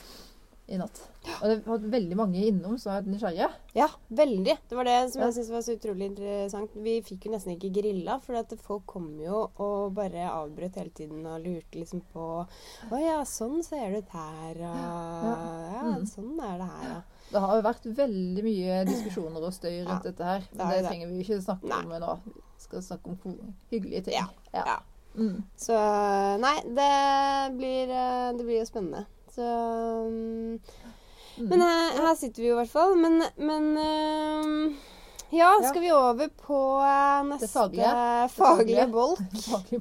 Speaker 3: i natt. Og det har vært veldig mange innom som har vært nysgjerrige.
Speaker 2: Ja, veldig. Det var det som
Speaker 3: Ja.
Speaker 2: jeg syntes var så utrolig interessant. Vi fikk jo nesten ikke grilla, for at folk kom jo og bare avbrøt hele tiden og lurte liksom på Å ja, sånn ser det ut her, og ja,
Speaker 3: Mm.
Speaker 2: sånn er det her, ja.
Speaker 3: Det har jo vært veldig mye diskusjoner og støy rundt
Speaker 2: Ja,
Speaker 3: dette her.
Speaker 2: det
Speaker 3: Men
Speaker 2: har
Speaker 3: det
Speaker 2: jo det.
Speaker 3: trenger vi ikke snakke
Speaker 2: Nei.
Speaker 3: om nå. Vi skal snakke om ko- hyggelige ting.
Speaker 2: Ja, ja.
Speaker 3: Mm.
Speaker 2: Så nei, det blir, eh, det blir jo spennende. Så mm.
Speaker 3: Mm.
Speaker 2: Men her, her sitter vi jo i hvert fall. Men, men eh, Ja,
Speaker 3: Ja.
Speaker 2: skal vi over på eh, neste
Speaker 3: faglige.
Speaker 2: faglige,
Speaker 3: faglige.
Speaker 2: bolk?
Speaker 3: Faglige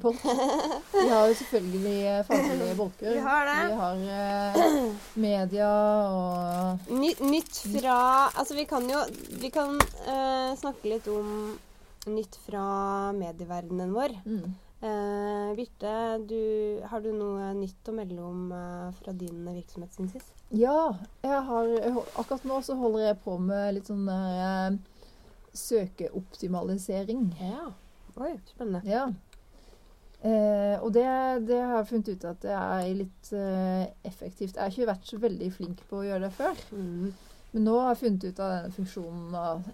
Speaker 3: bolker. Vi har jo selvfølgelig eh, faglige bolker.
Speaker 2: Vi har det.
Speaker 3: Vi har eh, media og
Speaker 2: Ny, nytt fra Altså, vi kan jo Vi kan eh, snakke litt om nytt fra medieverdenen vår.
Speaker 3: mm.
Speaker 2: Eh, Birte, du, har du noe nytt å melde om eh, fra din virksomhet siden sist?
Speaker 3: Ja, jeg har, jeg hol- akkurat nå så holder jeg på med litt sånn der eh, søkeoptimalisering.
Speaker 2: Ja. Oi, spennende.
Speaker 3: Ja. Eh, og det, det har jeg funnet ut at det er litt eh, effektivt. Jeg har ikke vært så veldig flink på å gjøre det før,
Speaker 2: Mm.
Speaker 3: men nå har jeg funnet ut av denne funksjonen av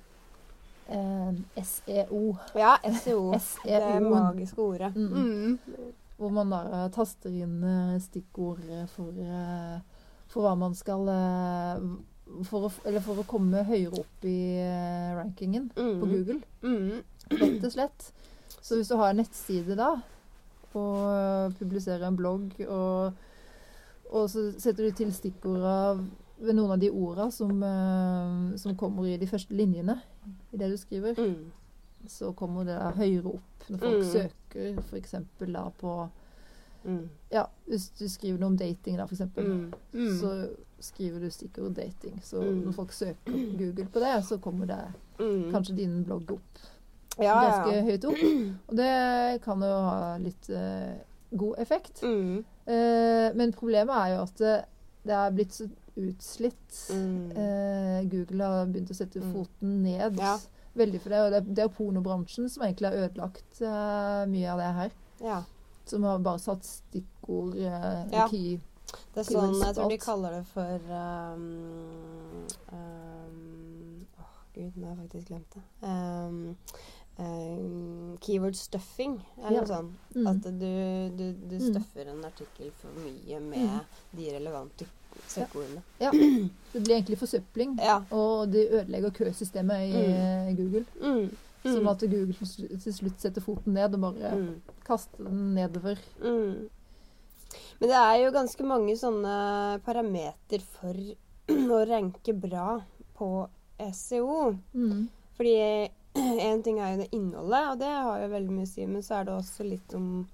Speaker 3: eh, SEO.
Speaker 2: Ja, SEO.
Speaker 3: E
Speaker 2: Det er
Speaker 3: SEO.
Speaker 2: magiske ordet.
Speaker 3: Mm.
Speaker 2: E Mm.
Speaker 3: Hvor man da taster inn eh, stikkord eh, for, eh, for hva man skal eh, for å, f- Eller for å komme høyere opp i eh, rankingen
Speaker 2: Mm.
Speaker 3: på Google,
Speaker 2: Mm.
Speaker 3: rett og slett. Så hvis du har en nettside, da, og eh, publiserer en blogg, og, og så setter du til stikkorda ved noen av de orda som, eh, som kommer i de første linjene i det du skriver,
Speaker 2: Mm.
Speaker 3: så kommer det da høyere opp når folk
Speaker 2: Mm.
Speaker 3: søker f.eks. da på
Speaker 2: Mm.
Speaker 3: ja, hvis du skriver noe om dating, da, for eksempel,
Speaker 2: Mm. Mm.
Speaker 3: så skriver du stikkord 'dating'. Så
Speaker 2: Mm.
Speaker 3: når folk søker på Google på det, så kommer det
Speaker 2: Mm.
Speaker 3: kanskje din blogg opp
Speaker 2: ja,
Speaker 3: ganske
Speaker 2: ja.
Speaker 3: høyt opp. Og det kan jo ha litt eh, god effekt.
Speaker 2: Mm.
Speaker 3: Eh, men problemet er jo at det, det er blitt så utslitt.
Speaker 2: Mm.
Speaker 3: Eh, Google har begynt å sette
Speaker 2: Mm.
Speaker 3: foten ned
Speaker 2: Ja.
Speaker 3: veldig for det. Og det, er- det er jo pornobransjen som egentlig har ødelagt eh, mye av det her.
Speaker 2: ja.
Speaker 3: Som har bare satt stikkord eh,
Speaker 2: Ja.
Speaker 3: key
Speaker 2: Det er sånn,
Speaker 3: Keywords
Speaker 2: jeg tror de
Speaker 3: alt.
Speaker 2: kaller det for um, um, Åh, gud, nå har jeg faktisk glemt det. Um, um, keyword stuffing er
Speaker 3: Ja.
Speaker 2: noe sånn.
Speaker 3: Mm.
Speaker 2: At du, du, du
Speaker 3: Mm.
Speaker 2: stuffer en artikkel for mye med
Speaker 3: Mm.
Speaker 2: de relevante søkeordene.
Speaker 3: Det blir egentlig forsøpling.
Speaker 2: Ja.
Speaker 3: Og de ødelegger køsystemet i eh, Google.
Speaker 2: Mm.
Speaker 3: Sånn at Google til slu- til slutt setter foten ned og bare
Speaker 2: Mm.
Speaker 3: kaster den nedover.
Speaker 2: Mm. Men det er jo ganske mange sånne parameter for å ranke bra på E SEO.
Speaker 3: Mm.
Speaker 2: Fordi en ting er jo det innholdet, og det har jo veldig mye å si, men så er det også litt om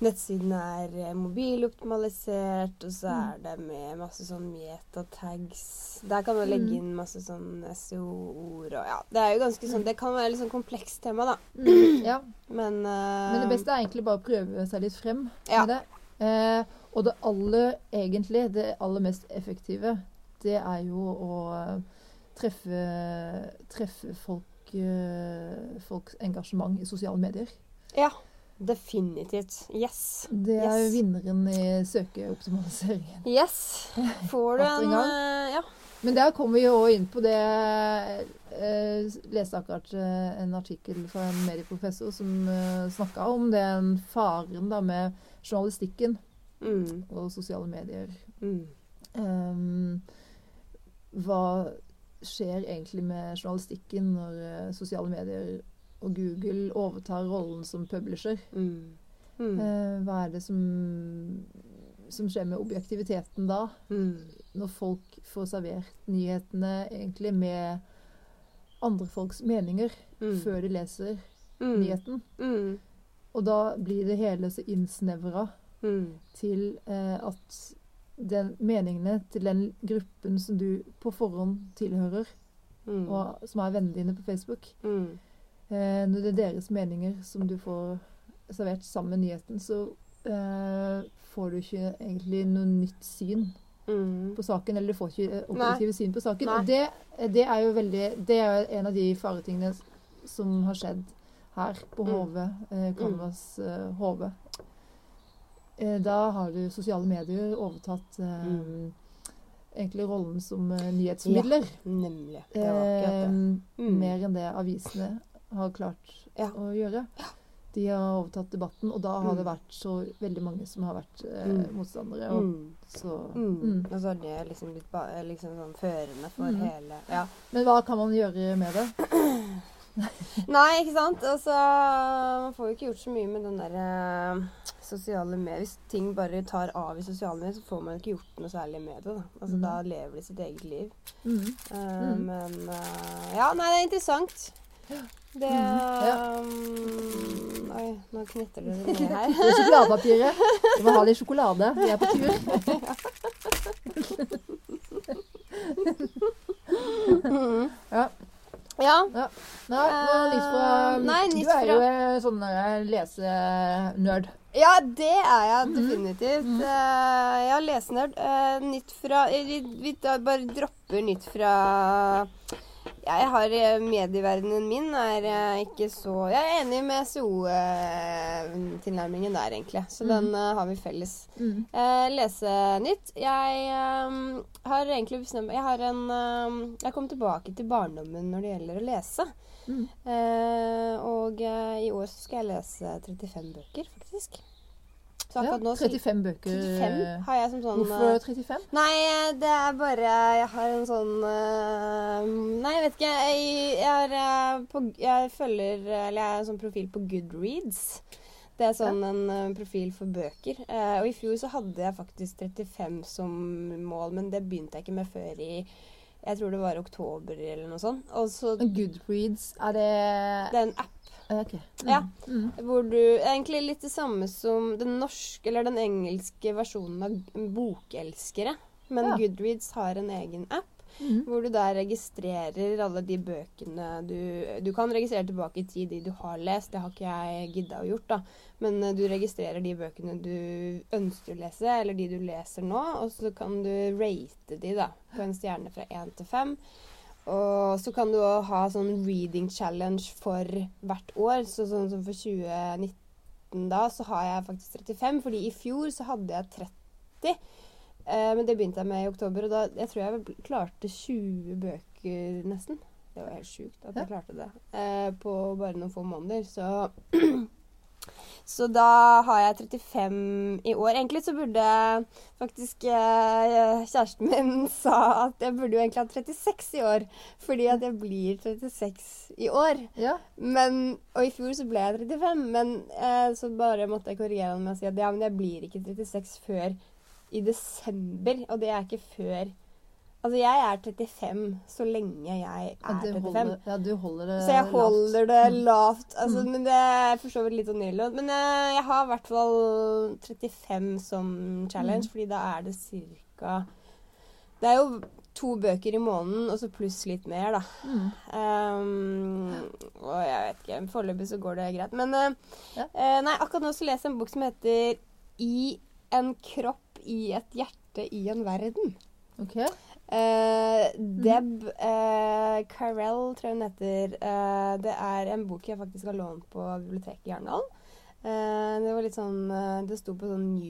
Speaker 2: Nettsiden er eh, mobiloptimalisert, og så
Speaker 3: Mm.
Speaker 2: er det med masse sånn metatags. Der kan man legge
Speaker 3: Mm.
Speaker 2: inn masse sånn SEO-ord og ja. Det er jo ganske sånn, det kan være litt sånn komplekst tema, da.
Speaker 3: Mm. Ja.
Speaker 2: Men,
Speaker 3: Men det
Speaker 2: eh,
Speaker 3: beste er egentlig bare å prøve seg litt frem
Speaker 2: Ja.
Speaker 3: med det. Eh, og det aller, egentlig, det aller mest effektive, det er jo å eh, treffe, treffe folk, eh, folks engasjement i sosiale medier.
Speaker 2: Ja, definitivt. Yes.
Speaker 3: Det er jo
Speaker 2: Yes.
Speaker 3: vinneren i søkeoptimaliseringen.
Speaker 2: Yes. Får du
Speaker 3: Atter en
Speaker 2: en
Speaker 3: gang.
Speaker 2: eh, Ja.
Speaker 3: Men der kommer vi jo også inn på det Jeg leste akkurat eh, en artikkel fra en medieprofessor som eh, snakka om den faren da med journalistikken
Speaker 2: Mm.
Speaker 3: og sosiale medier.
Speaker 2: Mm.
Speaker 3: Ehm, hva skjer egentlig med journalistikken når eh, sosiale medier og Google overtar rollen som publisher?
Speaker 2: Mm. Mm.
Speaker 3: Eh, hva er det som, som skjer med objektiviteten da?
Speaker 2: Mm.
Speaker 3: når folk får servert nyhetene egentlig med andre folks meninger
Speaker 2: Mm.
Speaker 3: før de leser
Speaker 2: Mm.
Speaker 3: nyheten.
Speaker 2: Mm.
Speaker 3: Og da blir det hele så innsnevra
Speaker 2: Mm.
Speaker 3: til eh, at den meningene til den gruppen som du på forhånd tilhører,
Speaker 2: Mm.
Speaker 3: og som er vennene dine på Facebook
Speaker 2: Mm.
Speaker 3: eh, Når det er deres meninger som du får servert sammen med nyheten, så eh, får du ikke egentlig noe nytt syn
Speaker 2: Mm.
Speaker 3: på saken, eller du får ikke eh,
Speaker 2: Nei.
Speaker 3: objektive syn på saken.
Speaker 2: Nei.
Speaker 3: Og det, det er jo veldig Det er jo en av de faretingene s- som har skjedd her på
Speaker 2: Mm.
Speaker 3: HV, eh, Canvas eh, HV. Eh, da har du sosiale medier overtatt eh,
Speaker 2: Mm.
Speaker 3: egentlig rollen som eh, nyhetsmidler.
Speaker 2: Nemlig. Det var akkurat
Speaker 3: eh,
Speaker 2: det. Mm.
Speaker 3: mer enn det avisene har klart
Speaker 2: Ja.
Speaker 3: å gjøre. De har overtatt debatten, og da har
Speaker 2: Mm.
Speaker 3: det vært så veldig mange som har vært eh,
Speaker 2: Mm.
Speaker 3: motstandere. Og
Speaker 2: Mm.
Speaker 3: så
Speaker 2: Mm.
Speaker 3: mm.
Speaker 2: Og så har det liksom blitt ba liksom sånn førende for
Speaker 3: Mm.
Speaker 2: hele Ja.
Speaker 3: Men hva kan man gjøre med det?
Speaker 2: Nei, ikke sant? Og så man får jo ikke gjort så mye med den der eh, sosiale medier. Hvis ting bare tar av i sosiale medier, så får man ikke gjort noe særlig med det. Da, altså,
Speaker 3: Mhm.
Speaker 2: da lever de sitt eget liv.
Speaker 3: Mm.
Speaker 2: Eh,
Speaker 3: Mhm.
Speaker 2: Men eh, Ja, nei, det er interessant. Det
Speaker 3: ja.
Speaker 2: mm, Oi, nå knetter det
Speaker 3: Det
Speaker 2: ned her.
Speaker 3: er sjokoladepapiret. Du må ha litt sjokolade. Vi er på tur.
Speaker 2: Mhm.
Speaker 3: Ja.
Speaker 2: ja.
Speaker 3: Nei, nå litt fra,
Speaker 2: Eh, nei, nytt
Speaker 3: du er jo
Speaker 2: fra-
Speaker 3: eh, sånn der lesenerd.
Speaker 2: Ja, det er jeg definitivt. Mm. jeg har lesenerd. Eh, nytt fra eh, Vi, vi da bare dropper nytt fra ja, Jeg har eh, medieverdenen min er eh, ikke så Jeg er enig med SO-tilnærmingen der, egentlig. Så den eh, har vi felles.
Speaker 3: Mm.
Speaker 2: Eh, lese nytt. Jeg ehm, har egentlig bestemt Jeg har en ehm, Jeg kom tilbake til barndommen når det gjelder å lese.
Speaker 3: Mm.
Speaker 2: Eh, og eh, i år så skal jeg lese 35 bøker, faktisk. Så
Speaker 3: Ja,
Speaker 2: akkurat nå så,
Speaker 3: 35 bøker.
Speaker 2: 35 har jeg som sånn eh,
Speaker 3: Hvorfor 35?
Speaker 2: Nei, det er bare Jeg har en sånn eh, Nei, jeg vet ikke. Jeg, jeg, har, eh, på, jeg følger Eller jeg har en sånn profil på Goodreads. Det er sånn en eh, profil for bøker. Eh, og i fjor så hadde jeg faktisk 35 som mål, men det begynte jeg ikke med før i Jeg tror det var oktober eller noe sånt. Og så Det
Speaker 3: Goodreads, er det
Speaker 2: er en app
Speaker 3: Ok. Mm.
Speaker 2: Ja.
Speaker 3: Mm.
Speaker 2: hvor du Egentlig litt det samme som den norske eller den engelske versjonen av Bokelskere. Men
Speaker 3: Ja.
Speaker 2: Goodreads har en egen app.
Speaker 3: Mm.
Speaker 2: Hvor du da registrerer alle de bøkene du Du kan registrere tilbake i tid de du har lest. Det har ikke jeg gidda å gjort, da. Men eh, du registrerer de bøkene du ønsker å lese, eller de du leser nå. Og så kan du rate de, da. På en stjerne fra én til fem. Og så kan du òg ha sånn reading challenge for hvert år. Så sånn som for 2019 da, så har jeg faktisk 35. Fordi i fjor så hadde jeg 30. Eh, men det begynte jeg med i oktober, og da jeg tror jeg vel klarte 20 bøker nesten. Det var helt sjukt at jeg klarte det eh, på bare noen få måneder. Så, så da har jeg 35 i år. Egentlig så burde faktisk eh, Kjæresten min sa at jeg burde jo egentlig hatt 36 i år, fordi at jeg blir 36 i år.
Speaker 3: Ja.
Speaker 2: Men, og i fjor så ble jeg 35, men eh, så bare måtte jeg korrigere han med å si at ja, men jeg blir ikke 36 før i desember. Og det er ikke før Altså, jeg er 35 så lenge jeg
Speaker 3: Ja,
Speaker 2: er 35.
Speaker 3: du holder, eh, Mm. ja, du holder det
Speaker 2: Så jeg holder det
Speaker 3: lavt.
Speaker 2: lavt. Altså, Men det er for så vidt litt onyrlig. Men eh, jeg har i hvert fall 35 som
Speaker 3: Mm.
Speaker 2: challenge, fordi da er det ca. Det er jo to bøker i måneden, og så pluss litt mer, da.
Speaker 3: Mm.
Speaker 2: Ehm, og jeg vet ikke. Foreløpig så går det greit. Men eh,
Speaker 3: Ja.
Speaker 2: eh, nei, akkurat nå så leser jeg en bok som heter 'I en kropp, i et hjerte, i en verden'.
Speaker 3: Ok.
Speaker 2: Eh,
Speaker 3: Mhm.
Speaker 2: Deb eh, Carell, tror jeg hun heter. Eh, det er en bok jeg faktisk har lånt på biblioteket i Arendal. Eh, det var litt sånn eh, Det sto på sånn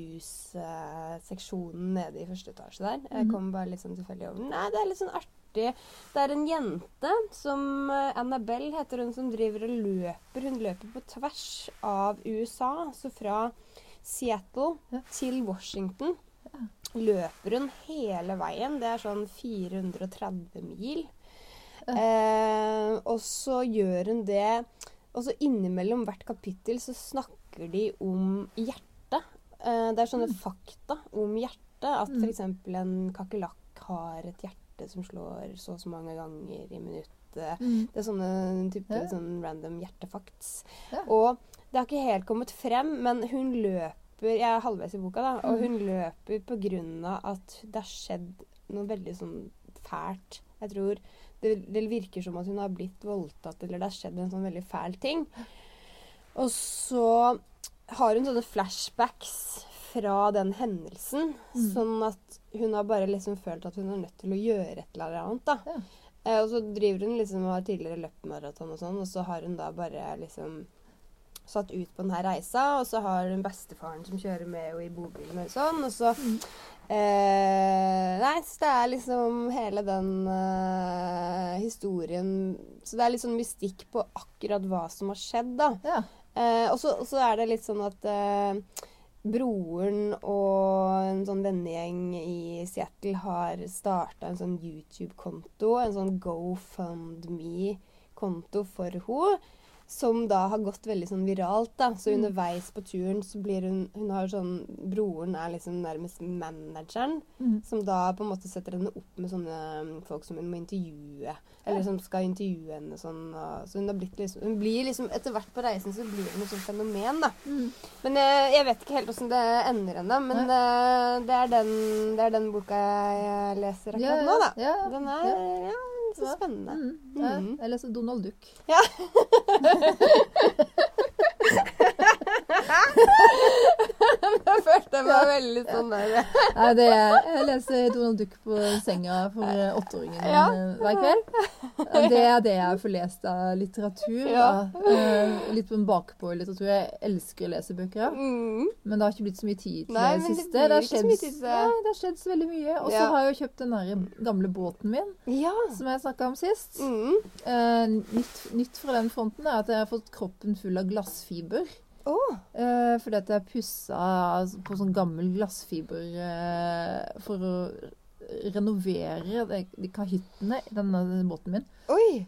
Speaker 2: news-seksjonen nede i første etasje der. Jeg
Speaker 3: Mhm.
Speaker 2: kom bare litt sånn tilfeldig over den. Nei, det er litt sånn artig. Det er en jente som eh, Annabelle heter hun, som driver og løper. Hun løper på tvers av USA, så altså fra Seattle
Speaker 3: Ja.
Speaker 2: til Washington. Løper hun hele veien. Det er sånn 430 mil. Eh, og så gjør hun det Og så innimellom hvert kapittel så snakker de om hjertet. Eh, det er sånne fakta om hjertet. At
Speaker 3: Mm.
Speaker 2: f.eks. en kakerlakk har et hjerte som slår så og så mange ganger i minuttet.
Speaker 3: Mm.
Speaker 2: Det er sånne type
Speaker 3: Ja.
Speaker 2: sånn random hjertefacts.
Speaker 3: Ja.
Speaker 2: Og det har ikke helt kommet frem, men hun løper Jeg er halvveis i boka, da.
Speaker 3: Mm.
Speaker 2: Og hun løper på grunn av at det har skjedd noe veldig sånn fælt. Jeg tror det, det virker som at hun har blitt voldtatt, eller det har skjedd en sånn veldig fæl ting. Og så har hun sånne flashbacks fra den hendelsen.
Speaker 3: Mm.
Speaker 2: Sånn at hun har bare liksom følt at hun er nødt til å gjøre et eller annet. da.
Speaker 3: Ja.
Speaker 2: Eh, og så driver hun liksom og har tidligere løpt maraton og sånn, og så har hun da bare liksom satt ut på denne reisa, og så har hun bestefaren som kjører med henne i bobilen og sånn, og så eh, Nei, så det er liksom hele den eh, historien Så det er litt sånn mystikk på akkurat hva som har skjedd, da.
Speaker 3: Ja.
Speaker 2: Eh, og så og så er det litt sånn at eh, broren og en sånn vennegjeng i Seattle har starta en sånn YouTube-konto, en sånn GoFundMe-konto konto for henne. Som da har gått veldig sånn viralt. da. Så underveis på turen så blir hun hun har jo sånn, Broren er liksom nærmest manageren.
Speaker 3: Mm.
Speaker 2: Som da på en måte setter henne opp med sånne um, folk som hun må intervjue. Eller som skal intervjue henne sånn. Og, så hun, har blitt liksom, hun blir liksom Etter hvert på reisen så blir hun et sånt fenomen, da.
Speaker 3: Mm.
Speaker 2: Men jeg, jeg vet ikke helt åssen det ender ennå. Men eh, det, er den, det er den boka jeg leser akkurat nå, da.
Speaker 3: Ja, ja.
Speaker 2: Den er ja, så spennende.
Speaker 3: Mm. Ja.
Speaker 2: Mm.
Speaker 3: Jeg leste Donald Duck.
Speaker 2: Ja. Jeg følte jeg var veldig sånn der
Speaker 3: Nei, det er, jeg leser Donald Duck på senga for eh, åtteåringen min
Speaker 2: Ja.
Speaker 3: eh, hver kveld. Og Det er det jeg får lest av litteratur.
Speaker 2: Ja.
Speaker 3: da. Eh, Litt på en bakpå litteratur. Jeg elsker å lese bøker, ja.
Speaker 2: mm.
Speaker 3: men det har ikke blitt så mye tid til
Speaker 2: Nei,
Speaker 3: det
Speaker 2: men det
Speaker 3: siste.
Speaker 2: blir
Speaker 3: har
Speaker 2: ikke så
Speaker 3: skjedd-
Speaker 2: mye tid til det.
Speaker 3: Nei, det har skjedd så veldig mye. Og så
Speaker 2: Ja.
Speaker 3: har jeg jo kjøpt den der gamle båten min,
Speaker 2: Ja.
Speaker 3: som jeg snakka om sist.
Speaker 2: Mm.
Speaker 3: Eh, nytt, nytt fra den fronten er at jeg har fått kroppen full av glassfiber.
Speaker 2: Å.
Speaker 3: Eh, fordi at jeg pussa altså, på sånn gammel glassfiber eh, for å renovere de, de kahyttene i denne båten min.
Speaker 2: Oi.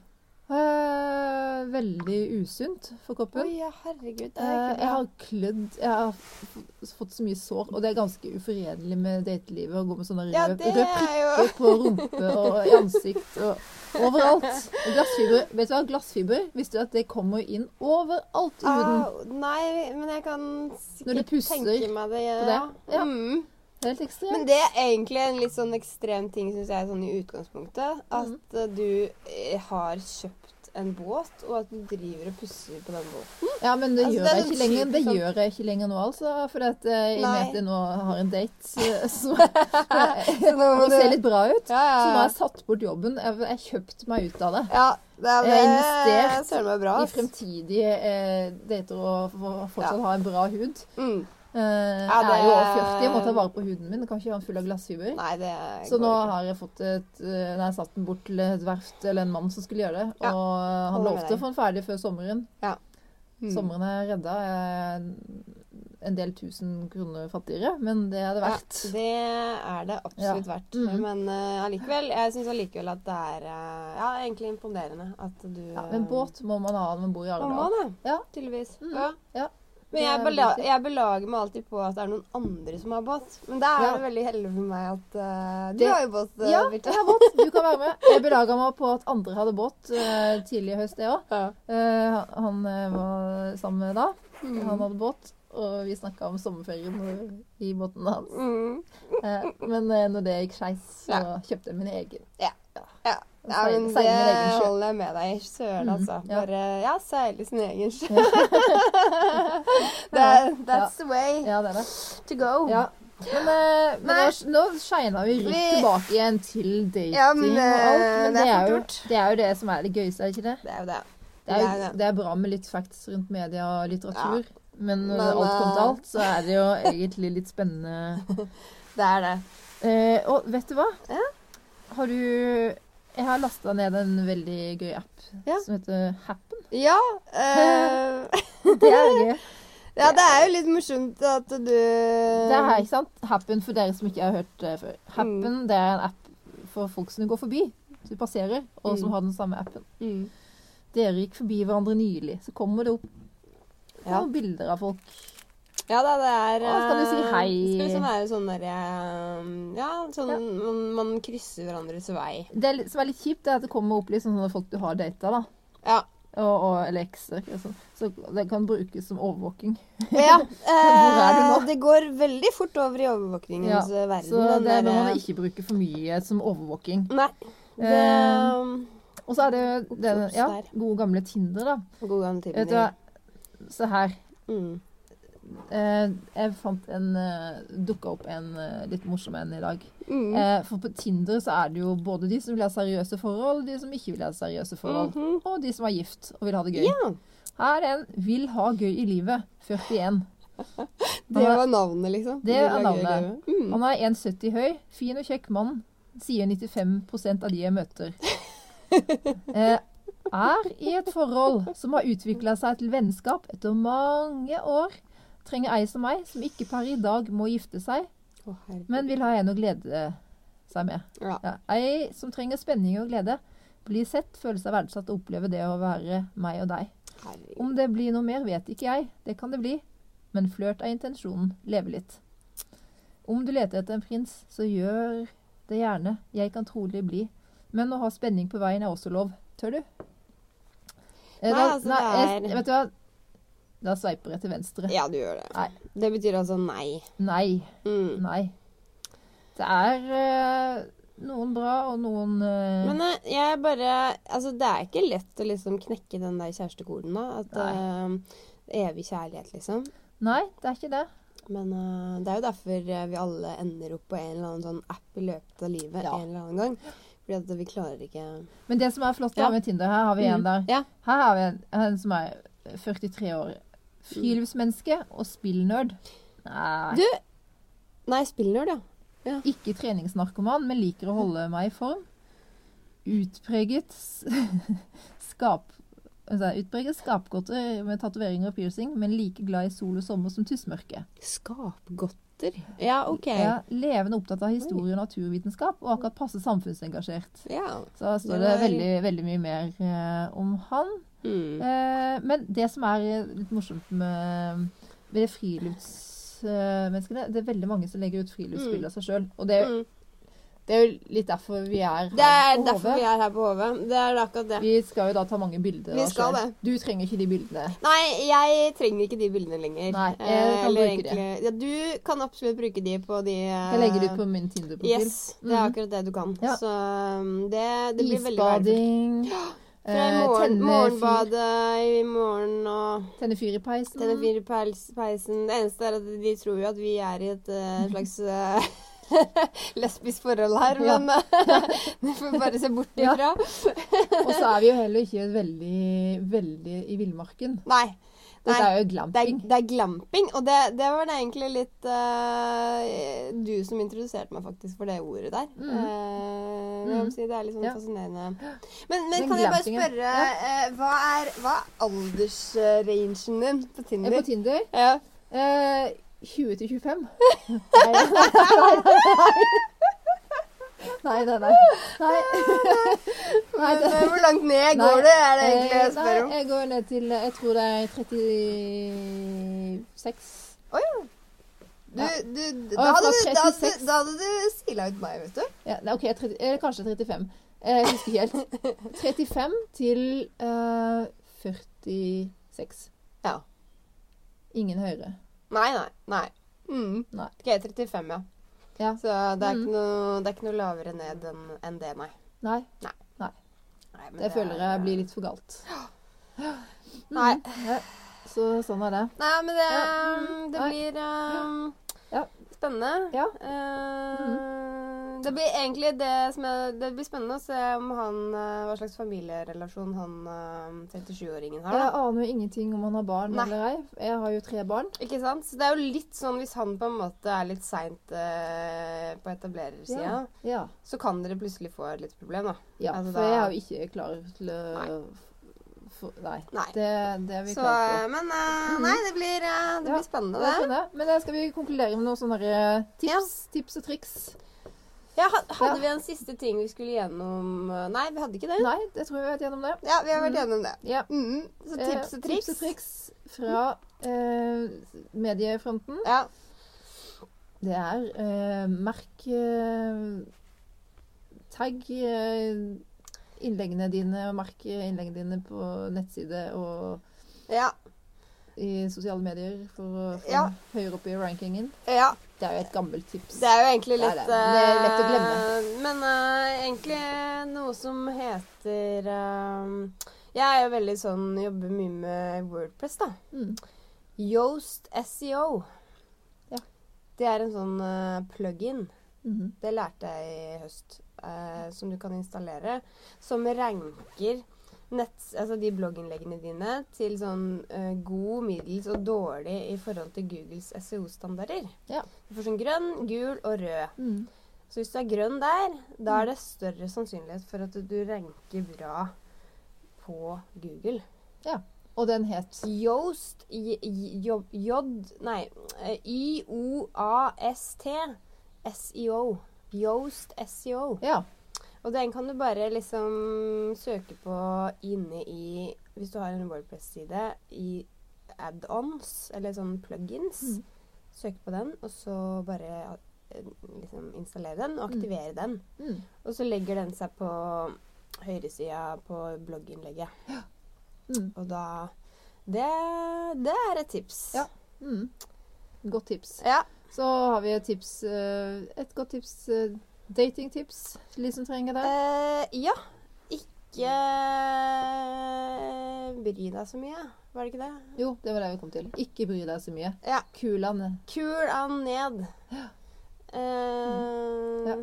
Speaker 3: Eh, veldig usunt for
Speaker 2: Oi,
Speaker 3: kroppen.
Speaker 2: ja, herregud. Det
Speaker 3: Eh,
Speaker 2: er ikke
Speaker 3: jeg
Speaker 2: bra.
Speaker 3: har klødd Jeg har f- fått så mye sår, og det er ganske uforenlig med datelivet å gå med sånne
Speaker 2: Ja,
Speaker 3: røde
Speaker 2: det
Speaker 3: røde
Speaker 2: er jo
Speaker 3: prikker på rumpe og i ansikt og overalt. Og glassfiber Vet du hva, glassfiber visste du at det kommer inn overalt i huden.
Speaker 2: Au, Ah, Nei, men jeg kan
Speaker 3: Når du
Speaker 2: sikkert
Speaker 3: pusser
Speaker 2: tenke meg det. Ja.
Speaker 3: på det, ja.
Speaker 2: Mm.
Speaker 3: Helt ekstremt.
Speaker 2: Men det er egentlig en litt sånn ekstrem ting, syns jeg, sånn i utgangspunktet. At
Speaker 3: Mm.
Speaker 2: eh, du eh, har kjøpt en båt, og at du driver og pusser på den båten.
Speaker 3: Ja, men det
Speaker 2: Altså,
Speaker 3: gjør
Speaker 2: det er
Speaker 3: jeg
Speaker 2: sånn
Speaker 3: ikke lenger. Det
Speaker 2: typisk
Speaker 3: gjør jeg ikke lenger nå, altså. For at eh, i og med
Speaker 2: Nei.
Speaker 3: at jeg nå har en date eh, som
Speaker 2: nå
Speaker 3: jeg,
Speaker 2: må
Speaker 3: må se
Speaker 2: du-
Speaker 3: litt bra ut,
Speaker 2: Ja,
Speaker 3: så
Speaker 2: ja,
Speaker 3: nå har
Speaker 2: ja.
Speaker 3: jeg satt bort jobben. Jeg jeg har kjøpt meg ut av det.
Speaker 2: ja det er
Speaker 3: Jeg har investert
Speaker 2: søren meg bra.
Speaker 3: I
Speaker 2: ass.
Speaker 3: fremtidige eh, dater og for å fortsatt
Speaker 2: Ja.
Speaker 3: ha en bra hud.
Speaker 2: Mm.
Speaker 3: Eh,
Speaker 2: Ja,
Speaker 3: Jeg er jo over
Speaker 2: det-
Speaker 3: 40, jeg må ta vare på huden min. Jeg kan ikke ha den full av glassfiber.
Speaker 2: Nei, det
Speaker 3: Så
Speaker 2: går
Speaker 3: nå
Speaker 2: ikke.
Speaker 3: har jeg fått et, eh, nei, satt den bort til et verft eller en mann som skulle gjøre det.
Speaker 2: Ja.
Speaker 3: Og
Speaker 2: Holder
Speaker 3: eh, han
Speaker 2: med
Speaker 3: lovte
Speaker 2: deg.
Speaker 3: å få den ferdig før sommeren.
Speaker 2: Mm.
Speaker 3: Sommeren er redda eh, en del tusen kroner fattigere, men det er det verdt.
Speaker 2: Ja, det er det absolutt verdt.
Speaker 3: Mhm.
Speaker 2: Men eh, allikevel, jeg syns allikevel at det er eh, ja, egentlig imponerende at du
Speaker 3: Ja, men båt må man ha når man bor i
Speaker 2: Man må
Speaker 3: Arendal.
Speaker 2: det,
Speaker 3: Ja.
Speaker 2: tydeligvis.
Speaker 3: Mhm.
Speaker 2: Ja.
Speaker 3: Ja.
Speaker 2: Men jeg,
Speaker 3: Det er
Speaker 2: bela
Speaker 3: viktig.
Speaker 2: jeg belager meg alltid på at det er noen andre som har båt. Men det er
Speaker 3: Ja.
Speaker 2: det veldig heldig for meg at eh, Du
Speaker 3: Det-
Speaker 2: har jo båt, eh,
Speaker 3: Ja,
Speaker 2: Birte.
Speaker 3: jeg har båt. Du kan være med. Jeg belaga meg på at andre hadde båt eh, tidlig i høst, jeg òg.
Speaker 2: Ja.
Speaker 3: han eh, var sammen med da.
Speaker 2: Mm.
Speaker 3: Han hadde båt. Og vi snakka om sommerferien i båten hans.
Speaker 2: Mm.
Speaker 3: Eh, men eh, når det gikk skeis, så
Speaker 2: Ja.
Speaker 3: kjøpte jeg min egen.
Speaker 2: Ja. ja,
Speaker 3: Seil-
Speaker 2: men
Speaker 3: seil
Speaker 2: det
Speaker 3: min egen sjø.
Speaker 2: holder jeg med deg i. Søren,
Speaker 3: Mhm.
Speaker 2: altså.
Speaker 3: Ja.
Speaker 2: Bare ja, seile sin egen sjø. det, that's the way
Speaker 3: Ja, det er det.
Speaker 2: to go.
Speaker 3: Ja. Men, eh, men
Speaker 2: Nei.
Speaker 3: nå, nå shina vi rett
Speaker 2: Vi-
Speaker 3: tilbake igjen til dating
Speaker 2: Ja, men,
Speaker 3: og alt.
Speaker 2: eh,
Speaker 3: Men
Speaker 2: det
Speaker 3: det
Speaker 2: er
Speaker 3: er,
Speaker 2: fort
Speaker 3: jo,
Speaker 2: gjort.
Speaker 3: det er jo det som er det gøyeste, er det ikke det?
Speaker 2: Det er jo det.
Speaker 3: Det er,
Speaker 2: Det
Speaker 3: jo,
Speaker 2: er det.
Speaker 3: det er bra med litt facts rundt media og litteratur. Men når
Speaker 2: Men,
Speaker 3: alt kommer til
Speaker 2: eh,
Speaker 3: alt, så er det jo egentlig litt spennende.
Speaker 2: Det er det.
Speaker 3: Eh, og vet du hva?
Speaker 2: Ja.
Speaker 3: Har du Jeg har lasta ned en veldig gøy app
Speaker 2: Ja.
Speaker 3: som heter Happen.
Speaker 2: Ja. eh,
Speaker 3: Det er gøy.
Speaker 2: ja, det er jo litt morsomt at du
Speaker 3: Det er her, ikke sant? Happen for dere som ikke har hørt det før. Happen
Speaker 2: Mm.
Speaker 3: det er en app for folk som du går forbi. Du passerer, og som
Speaker 2: Mm.
Speaker 3: har den samme appen.
Speaker 2: Mm.
Speaker 3: Dere gikk forbi hverandre nylig, så kommer det opp
Speaker 2: Ja.
Speaker 3: noen bilder av folk.
Speaker 2: Ja da, det er
Speaker 3: Å, skal du si
Speaker 2: eh,
Speaker 3: hei?
Speaker 2: Det skal liksom være sånn derre Ja, sånn Man, man krysser hverandres vei.
Speaker 3: Det er litt- som er litt kjipt, det er at det kommer opp liksom sånne folk du har data, da.
Speaker 2: Ja.
Speaker 3: Og, og, eller ekser. og sånn. Så det kan brukes som overvåking.
Speaker 2: ja
Speaker 3: er du
Speaker 2: eh,
Speaker 3: nå?
Speaker 2: det går veldig fort over i overvåkningens
Speaker 3: Ja,
Speaker 2: verden.
Speaker 3: Så
Speaker 2: den
Speaker 3: det
Speaker 2: der,
Speaker 3: må
Speaker 2: eh,
Speaker 3: man ikke bruke for mye som overvåking.
Speaker 2: Nei. Det
Speaker 3: Eh,
Speaker 2: um,
Speaker 3: Og så er det jo den
Speaker 2: Ops,
Speaker 3: ja,
Speaker 2: der.
Speaker 3: gode gamle Tinder, da.
Speaker 2: God gang til.
Speaker 3: Vet du hva? Se her.
Speaker 2: Mm.
Speaker 3: Eh, jeg fant en uh, Dukka opp en eh, litt morsom en i dag.
Speaker 2: Mm.
Speaker 3: Eh, for på Tinder så er det jo både de som vil ha seriøse forhold, de som ikke vil ha seriøse forhold.
Speaker 2: Mhm.
Speaker 3: Og de som er gift og vil ha det gøy.
Speaker 2: Ja.
Speaker 3: Her er en 'Vil ha gøy i livet', 41.
Speaker 2: Det var navnet, liksom.
Speaker 3: Det er
Speaker 2: var gøy,
Speaker 3: navnet.
Speaker 2: gøy. Mm.
Speaker 3: Han er 1,70 høy, fin og kjekk mann, sier 95 av de jeg møter. Eh, er i et forhold som har utvikla seg til vennskap etter mange år. Trenger ei som meg, som ikke per i dag må gifte seg.
Speaker 2: Å, herregud.
Speaker 3: men vil ha en å glede seg med.
Speaker 2: Ja.
Speaker 3: Ja. Ei som trenger spenning og glede. Bli sett, føle seg verdsatt og oppleve det å være meg og deg.
Speaker 2: Herregud.
Speaker 3: Om det blir noe mer, vet ikke jeg. Det kan det bli. Men flørt er intensjonen. Leve litt. Om du leter etter en prins, så gjør det gjerne. Jeg kan trolig bli. Men å ha spenning på veien er også lov. Tør du?
Speaker 2: Nei,
Speaker 3: Eh, da-
Speaker 2: altså, det
Speaker 3: nei,
Speaker 2: er-
Speaker 3: jeg- Vet du hva? Da sveiper jeg til venstre.
Speaker 2: Ja, du gjør det.
Speaker 3: Nei.
Speaker 2: Det betyr altså nei.
Speaker 3: Nei.
Speaker 2: Mm.
Speaker 3: Nei. Det er eh, noen bra og noen eh,
Speaker 2: Men eh, jeg bare Altså, det er ikke lett å liksom knekke den der kjærestekoden, da. At eh, Evig kjærlighet, liksom.
Speaker 3: Nei, det er ikke det.
Speaker 2: Men eh, det er jo derfor eh, vi alle ender opp på en eller annen sånn app i løpet av livet
Speaker 3: Ja.
Speaker 2: en eller annen gang. Fordi at vi klarer ikke
Speaker 3: Men det som er flott da
Speaker 2: Ja.
Speaker 3: med Tinder Her har vi en
Speaker 2: Mm.
Speaker 3: der.
Speaker 2: Ja.
Speaker 3: Her har vi en, en som er 43 år. Friluftsmenneske og spillnerd. Nei,
Speaker 2: Du! Nei, spillnerd, ja.
Speaker 3: ikke treningsnarkoman, men liker å holde meg i form. Utpreget s- skap... Altså, utpreget skapgodter med tatoveringer og piercing, men like glad i sol og sommer som tussmørke.
Speaker 2: Skapgodter. Ja, OK. Ja.
Speaker 3: Ja, levende opptatt av historie og naturvitenskap, og akkurat passe samfunnsengasjert. Så her står
Speaker 2: Det
Speaker 3: det
Speaker 2: var-
Speaker 3: veldig, veldig mye mer eh, om han.
Speaker 2: Mm.
Speaker 3: Eh, men det som er eh, litt morsomt med, med det friluftsmenneskene Det er veldig mange som legger ut friluftsspill av seg sjøl. Og det er,
Speaker 2: Mm.
Speaker 3: det er jo litt derfor vi er her
Speaker 2: Det er
Speaker 3: på
Speaker 2: derfor
Speaker 3: HV.
Speaker 2: vi er her på HV. Det er akkurat det.
Speaker 3: Vi skal jo da ta mange bilder.
Speaker 2: Vi
Speaker 3: av oss
Speaker 2: skal
Speaker 3: selv. Du trenger ikke de bildene.
Speaker 2: Nei, jeg trenger ikke de bildene lenger.
Speaker 3: Nei, jeg
Speaker 2: Eh,
Speaker 3: kan
Speaker 2: eller
Speaker 3: bruke det.
Speaker 2: egentlig- Ja, du kan absolutt bruke de på de eh,
Speaker 3: Jeg legger det ut på min Tinder-profil.
Speaker 2: Yes, det er
Speaker 3: Mhm.
Speaker 2: akkurat det du kan.
Speaker 3: Ja.
Speaker 2: Så um, det, det blir veldig verdifullt.
Speaker 3: Isbading.
Speaker 2: Fra i
Speaker 3: eh,
Speaker 2: morgen,
Speaker 3: tenne fyr-
Speaker 2: morgenbadet i morgen og
Speaker 3: Tenne fyr i peisen.
Speaker 2: denne firepeisen. Det eneste er at de tror jo at vi er i et eh, slags eh, lesbisk forhold her,
Speaker 3: Ja.
Speaker 2: men eh, du får bare se bort
Speaker 3: Ja.
Speaker 2: ifra.
Speaker 3: Og så er vi jo heller ikke veldig, veldig i villmarken.
Speaker 2: Nei.
Speaker 3: Dette
Speaker 2: Nei.
Speaker 3: er jo
Speaker 2: Det er,
Speaker 3: glamping.
Speaker 2: det er glamping, og det, det var det egentlig litt eh, du som introduserte meg faktisk for det ordet der.
Speaker 3: Mhm.
Speaker 2: Eh, hva skal jeg si, det er litt sånn
Speaker 3: Mm. Ja.
Speaker 2: fascinerende. Men, men
Speaker 3: Men
Speaker 2: kan jeg bare
Speaker 3: glampingen,
Speaker 2: spørre, eh, hva er, hva er aldersrangen din på
Speaker 3: Jeg er
Speaker 2: Tinder?
Speaker 3: på Tinder.
Speaker 2: Ja.
Speaker 3: Eh, 20 til 25. Nei, nei, nei. Nei, nei.
Speaker 2: Men,
Speaker 3: det-
Speaker 2: eh, hvor langt ned går
Speaker 3: Nei,
Speaker 2: det, er det egentlig jeg
Speaker 3: eh,
Speaker 2: spør om?
Speaker 3: Nei, jeg går ned til eh, Jeg tror det er 36.
Speaker 2: Du, du,
Speaker 3: eh, Å,
Speaker 2: da, hadde du, da,
Speaker 3: jeg var
Speaker 2: hadde,
Speaker 3: 36.
Speaker 2: du- da hadde du sila ut meg, vet du.
Speaker 3: Ja, nei, OK, 30, eller kanskje 35. Eh, Jeg husker ikke helt. 35 til eh, 46.
Speaker 2: Ja.
Speaker 3: Ingen høyere.
Speaker 2: Nei, nei. nei. Mm.
Speaker 3: Nei.
Speaker 2: Ok, 35, ja.
Speaker 3: Ja.
Speaker 2: Så det er,
Speaker 3: Mhm.
Speaker 2: ikke noe, det er ikke noe lavere ned enn enn det, nei.
Speaker 3: Nei,
Speaker 2: nei men
Speaker 3: det føler
Speaker 2: er-
Speaker 3: jeg blir litt for galt.
Speaker 2: Nei.
Speaker 3: Ja, Så sånn er det.
Speaker 2: Nei, men det,
Speaker 3: Ja, mm,
Speaker 2: det
Speaker 3: nei.
Speaker 2: blir ehm,
Speaker 3: Ja.
Speaker 2: spennende.
Speaker 3: Ja. Mm-hmm.
Speaker 2: Eh, Det blir egentlig det som er Det blir spennende å se om han eh, hva slags familierelasjon han eh, 37-åringen har.
Speaker 3: Jeg
Speaker 2: da.
Speaker 3: aner jo ingenting om han har barn
Speaker 2: Nei.
Speaker 3: eller ei. Jeg har jo tre barn.
Speaker 2: Ikke sant? Så det er jo litt sånn hvis han på en måte er litt seint eh, på etablerersida,
Speaker 3: Ja.
Speaker 2: så kan dere plutselig få et lite problem, da.
Speaker 3: ja.
Speaker 2: Altså,
Speaker 3: for
Speaker 2: da-
Speaker 3: jeg er jo ikke klar til å
Speaker 2: Nei.
Speaker 3: for, Nei.
Speaker 2: Nei.
Speaker 3: Det, det er vi
Speaker 2: Så,
Speaker 3: klare
Speaker 2: eh, men eh, nei, det blir, eh, det
Speaker 3: Ja,
Speaker 2: blir spennende,
Speaker 3: på. Det
Speaker 2: det.
Speaker 3: er spennende. Men eh, skal vi konkludere med noen sånne eh, tips, tips og triks?
Speaker 2: Ja, ha- hadde
Speaker 3: Ja.
Speaker 2: vi en siste ting vi skulle gjennom eh, Nei, vi hadde ikke det.
Speaker 3: Nei, jeg tror vi har vært gjennom det.
Speaker 2: Ja, vi har vært gjennom det.
Speaker 3: Ja.
Speaker 2: Mm, så
Speaker 3: Eh,
Speaker 2: tips og triks.
Speaker 3: Tips og triks fra eh, mediefronten.
Speaker 2: Ja.
Speaker 3: Det er eh, merk eh, Tagg eh, innleggene dine, og merk innleggene dine på nettside og
Speaker 2: Ja.
Speaker 3: i sosiale medier for å få
Speaker 2: Ja.
Speaker 3: høyere opp i rankingen.
Speaker 2: ja.
Speaker 3: Det er jo et gammelt tips.
Speaker 2: Det er jo egentlig
Speaker 3: Det
Speaker 2: litt
Speaker 3: er det. Det er lett å glemme.
Speaker 2: eh, Men eh, egentlig noe som heter eh, Jeg er jo veldig sånn Jobber mye med Wordpress, da.
Speaker 3: Mm.
Speaker 2: Yoast SEO.
Speaker 3: Ja.
Speaker 2: Det er en sånn eh, plug-in.
Speaker 3: Mhm.
Speaker 2: Det lærte jeg i høst. eh, som du kan installere. Som ranker netts, altså de blogginnleggene dine til sånn eh, god, middels og dårlig i forhold til Googles SEO-standarder.
Speaker 3: Ja.
Speaker 2: Du får sånn grønn, gul og rød.
Speaker 3: Mm.
Speaker 2: Så hvis du er grønn der, da er det større sannsynlighet for at du ranker bra på Google.
Speaker 3: Og den het
Speaker 2: Yoast J... J... J- Nei. eh, I-O-A-S-T. SEO. Yoast SEO.
Speaker 3: Ja.
Speaker 2: Og den kan du bare liksom søke på inne i Hvis du har en Wordpress-side i add-ons, eller sånn plugins.
Speaker 3: Mm.
Speaker 2: Søk på den, og så bare eh, liksom installere den og aktivere den.
Speaker 3: Mm.
Speaker 2: Og så legger den seg på høyresida på blogginnlegget.
Speaker 3: Mm.
Speaker 2: Og da det, det er et tips.
Speaker 3: Ja. Mm. Godt tips.
Speaker 2: Ja.
Speaker 3: Så har vi et tips eh, Et godt tips. eh, Datingtips til de som trenger det.
Speaker 2: Eh, ja. Ikke bry deg så mye. Var det ikke det?
Speaker 3: Jo, det var det vi kom til. Ikke bry deg så mye.
Speaker 2: Ja.
Speaker 3: Kulene.
Speaker 2: Kul an ned. Eh,
Speaker 3: Ja.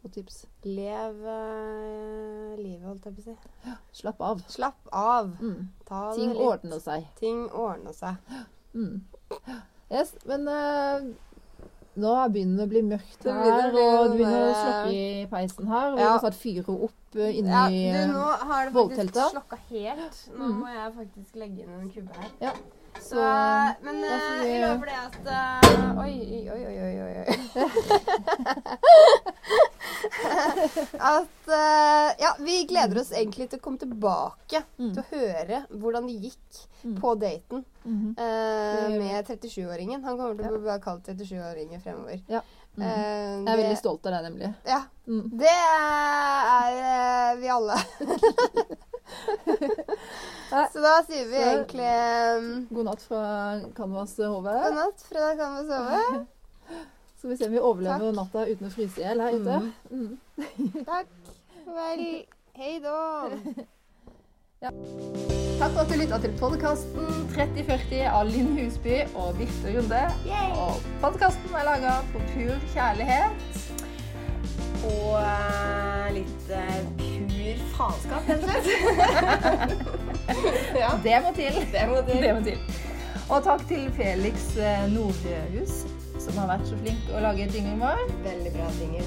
Speaker 3: Godt tips.
Speaker 2: Lev eh, livet, holdt jeg på å si.
Speaker 3: Slapp av.
Speaker 2: Slapp av.
Speaker 3: Mm.
Speaker 2: Ta det
Speaker 3: Ting
Speaker 2: litt.
Speaker 3: ordner seg.
Speaker 2: Ting ordner seg.
Speaker 3: Mm. Yes, men eh, nå begynner det å bli mørkt
Speaker 2: Det
Speaker 3: her,
Speaker 2: begynner å bli
Speaker 3: og det begynner å
Speaker 2: noe-
Speaker 3: slokke i peisen her. og Vi
Speaker 2: Ja.
Speaker 3: har satt fyret opp eh, inni
Speaker 2: Ja, du, nå har det faktisk
Speaker 3: voldtelta.
Speaker 2: slokka helt. Nå
Speaker 3: Mm.
Speaker 2: må jeg faktisk legge inn en kubbe her.
Speaker 3: Ja.
Speaker 2: Så,
Speaker 3: Så,
Speaker 2: Men
Speaker 3: da får
Speaker 2: eh, jeg
Speaker 3: vi-
Speaker 2: lover det at eh, Oi, oi, oi, oi, oi, oi. at eh, Ja, vi gleder oss egentlig til å komme tilbake
Speaker 3: Mm.
Speaker 2: til å høre hvordan det gikk
Speaker 3: Mm.
Speaker 2: på daten.
Speaker 3: Mhm.
Speaker 2: Eh,
Speaker 3: Det gjør vi.
Speaker 2: med 37-åringen. Han kommer til å bli kalt 37-åringen fremover.
Speaker 3: Ja. Mhm.
Speaker 2: Eh,
Speaker 3: Jeg er
Speaker 2: det-
Speaker 3: veldig stolt av det, nemlig.
Speaker 2: Ja.
Speaker 3: Mm.
Speaker 2: Det er eh, vi alle. Så da sier vi
Speaker 3: Så-
Speaker 2: egentlig eh,
Speaker 3: God natt fra Canvas eh, HV.
Speaker 2: god natt, fredag kan vi sove.
Speaker 3: Så vi ser om vi overlever
Speaker 2: Takk.
Speaker 3: natta uten å fryse i hjel her ute. Mm.
Speaker 2: Takk. Vel, hei då.
Speaker 3: Takk for at du lytta til podkasten 3040 av Linn Husby og Birte Runde. Og podkasten er laga på pur kjærlighet.
Speaker 2: Og eh, litt eh, pur faenskap, rett og slett. Ja.
Speaker 3: Det må til.
Speaker 2: Det må du.
Speaker 3: Det må til. Og takk til Felix eh, Nordhus, som har vært så flink å lage jinglen vår.
Speaker 2: Veldig bra tinger.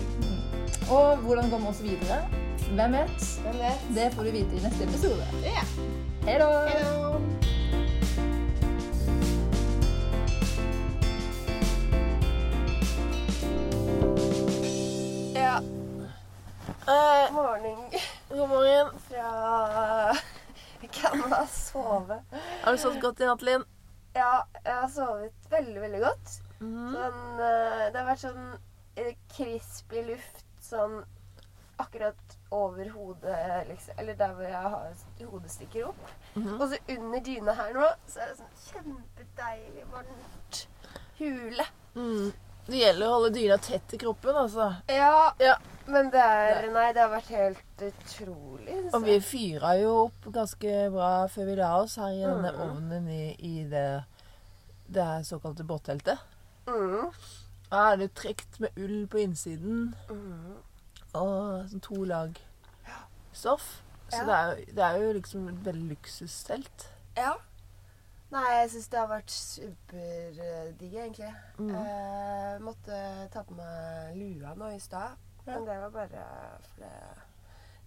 Speaker 3: Og hvordan går vi oss videre? Hvem vet?
Speaker 2: Hvem vet?
Speaker 3: Det får du vite i neste episode.
Speaker 2: Ja.
Speaker 3: Hei da!
Speaker 2: Hei då.
Speaker 4: Ja. Eh, God morgen. Fra
Speaker 2: Canvas sove.
Speaker 4: Har du sovet godt i natt, Linn?
Speaker 2: Ja, jeg har sovet veldig, veldig godt.
Speaker 4: Mhm.
Speaker 2: Sånn, eh, det har vært sånn eh, krisp i luft, sånn akkurat over hodet, liksom. Eller der hvor jeg har s- hodet stikker opp.
Speaker 4: Mhm.
Speaker 2: Og så under dyna her nå, så er det sånn kjempedeilig, varmt hule.
Speaker 4: Mm. Det gjelder å holde dyna tett i kroppen, altså.
Speaker 2: Ja,
Speaker 4: Ja.
Speaker 2: men det er Nei, det har vært helt utrolig. synes
Speaker 4: Og vi
Speaker 2: jeg.
Speaker 4: fyra jo opp ganske bra før vi la oss her i
Speaker 2: Mm.
Speaker 4: denne ovnen i, i det, det her såkalte båtteltet.
Speaker 2: Mm.
Speaker 4: Da er Ah, det jo trekt med ull på innsiden
Speaker 2: Mm.
Speaker 4: og sånn to lag stoff. Så
Speaker 2: Ja.
Speaker 4: det, er jo, det er jo liksom et veldig luksustelt.
Speaker 2: Ja. Nei, jeg syns det har vært superdigg, egentlig.
Speaker 4: Mm.
Speaker 2: Eh, måtte ta på meg lua nå i stad. Men det var bare eh, for det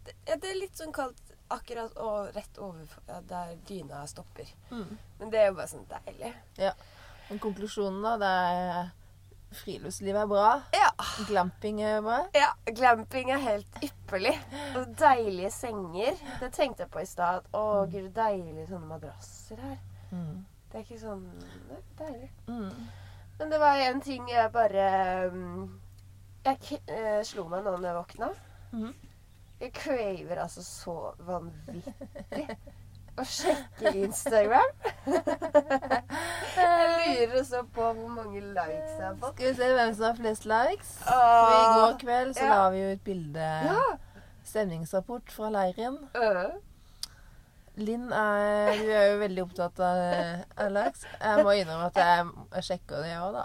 Speaker 2: det, ja, det er litt sånn kaldt akkurat og rett over ja, der dyna stopper.
Speaker 4: Mm.
Speaker 2: Men det er jo bare sånn deilig.
Speaker 4: Men konklusjonen, da, det er friluftsliv er bra.
Speaker 2: Ja.
Speaker 4: Glamping eh, er bra.
Speaker 2: Ja, glamping er helt ypperlig. Og deilige senger. Det tenkte jeg på i stad. at, Å, gud, deilige sånne madrasser her. Det er ikke sånn det er deilig.
Speaker 4: Mm.
Speaker 2: Men det var en ting jeg bare mm, Jeg k eh, slo meg nå når jeg våkna.
Speaker 4: Mhm.
Speaker 2: Jeg craver altså så vanvittig å sjekke Instagram. jeg lurer så på hvor mange likes jeg har fått.
Speaker 4: Skal vi se hvem som har flest likes? For I
Speaker 2: Åh,
Speaker 4: går kveld så
Speaker 2: ja.
Speaker 4: la vi ut bilde
Speaker 2: ja.
Speaker 4: Stemningsrapport fra leiren.
Speaker 2: øh.
Speaker 4: Linn, er, du er jo veldig opptatt av, av likes. Jeg må innrømme at jeg, jeg sjekker det, jeg òg, da.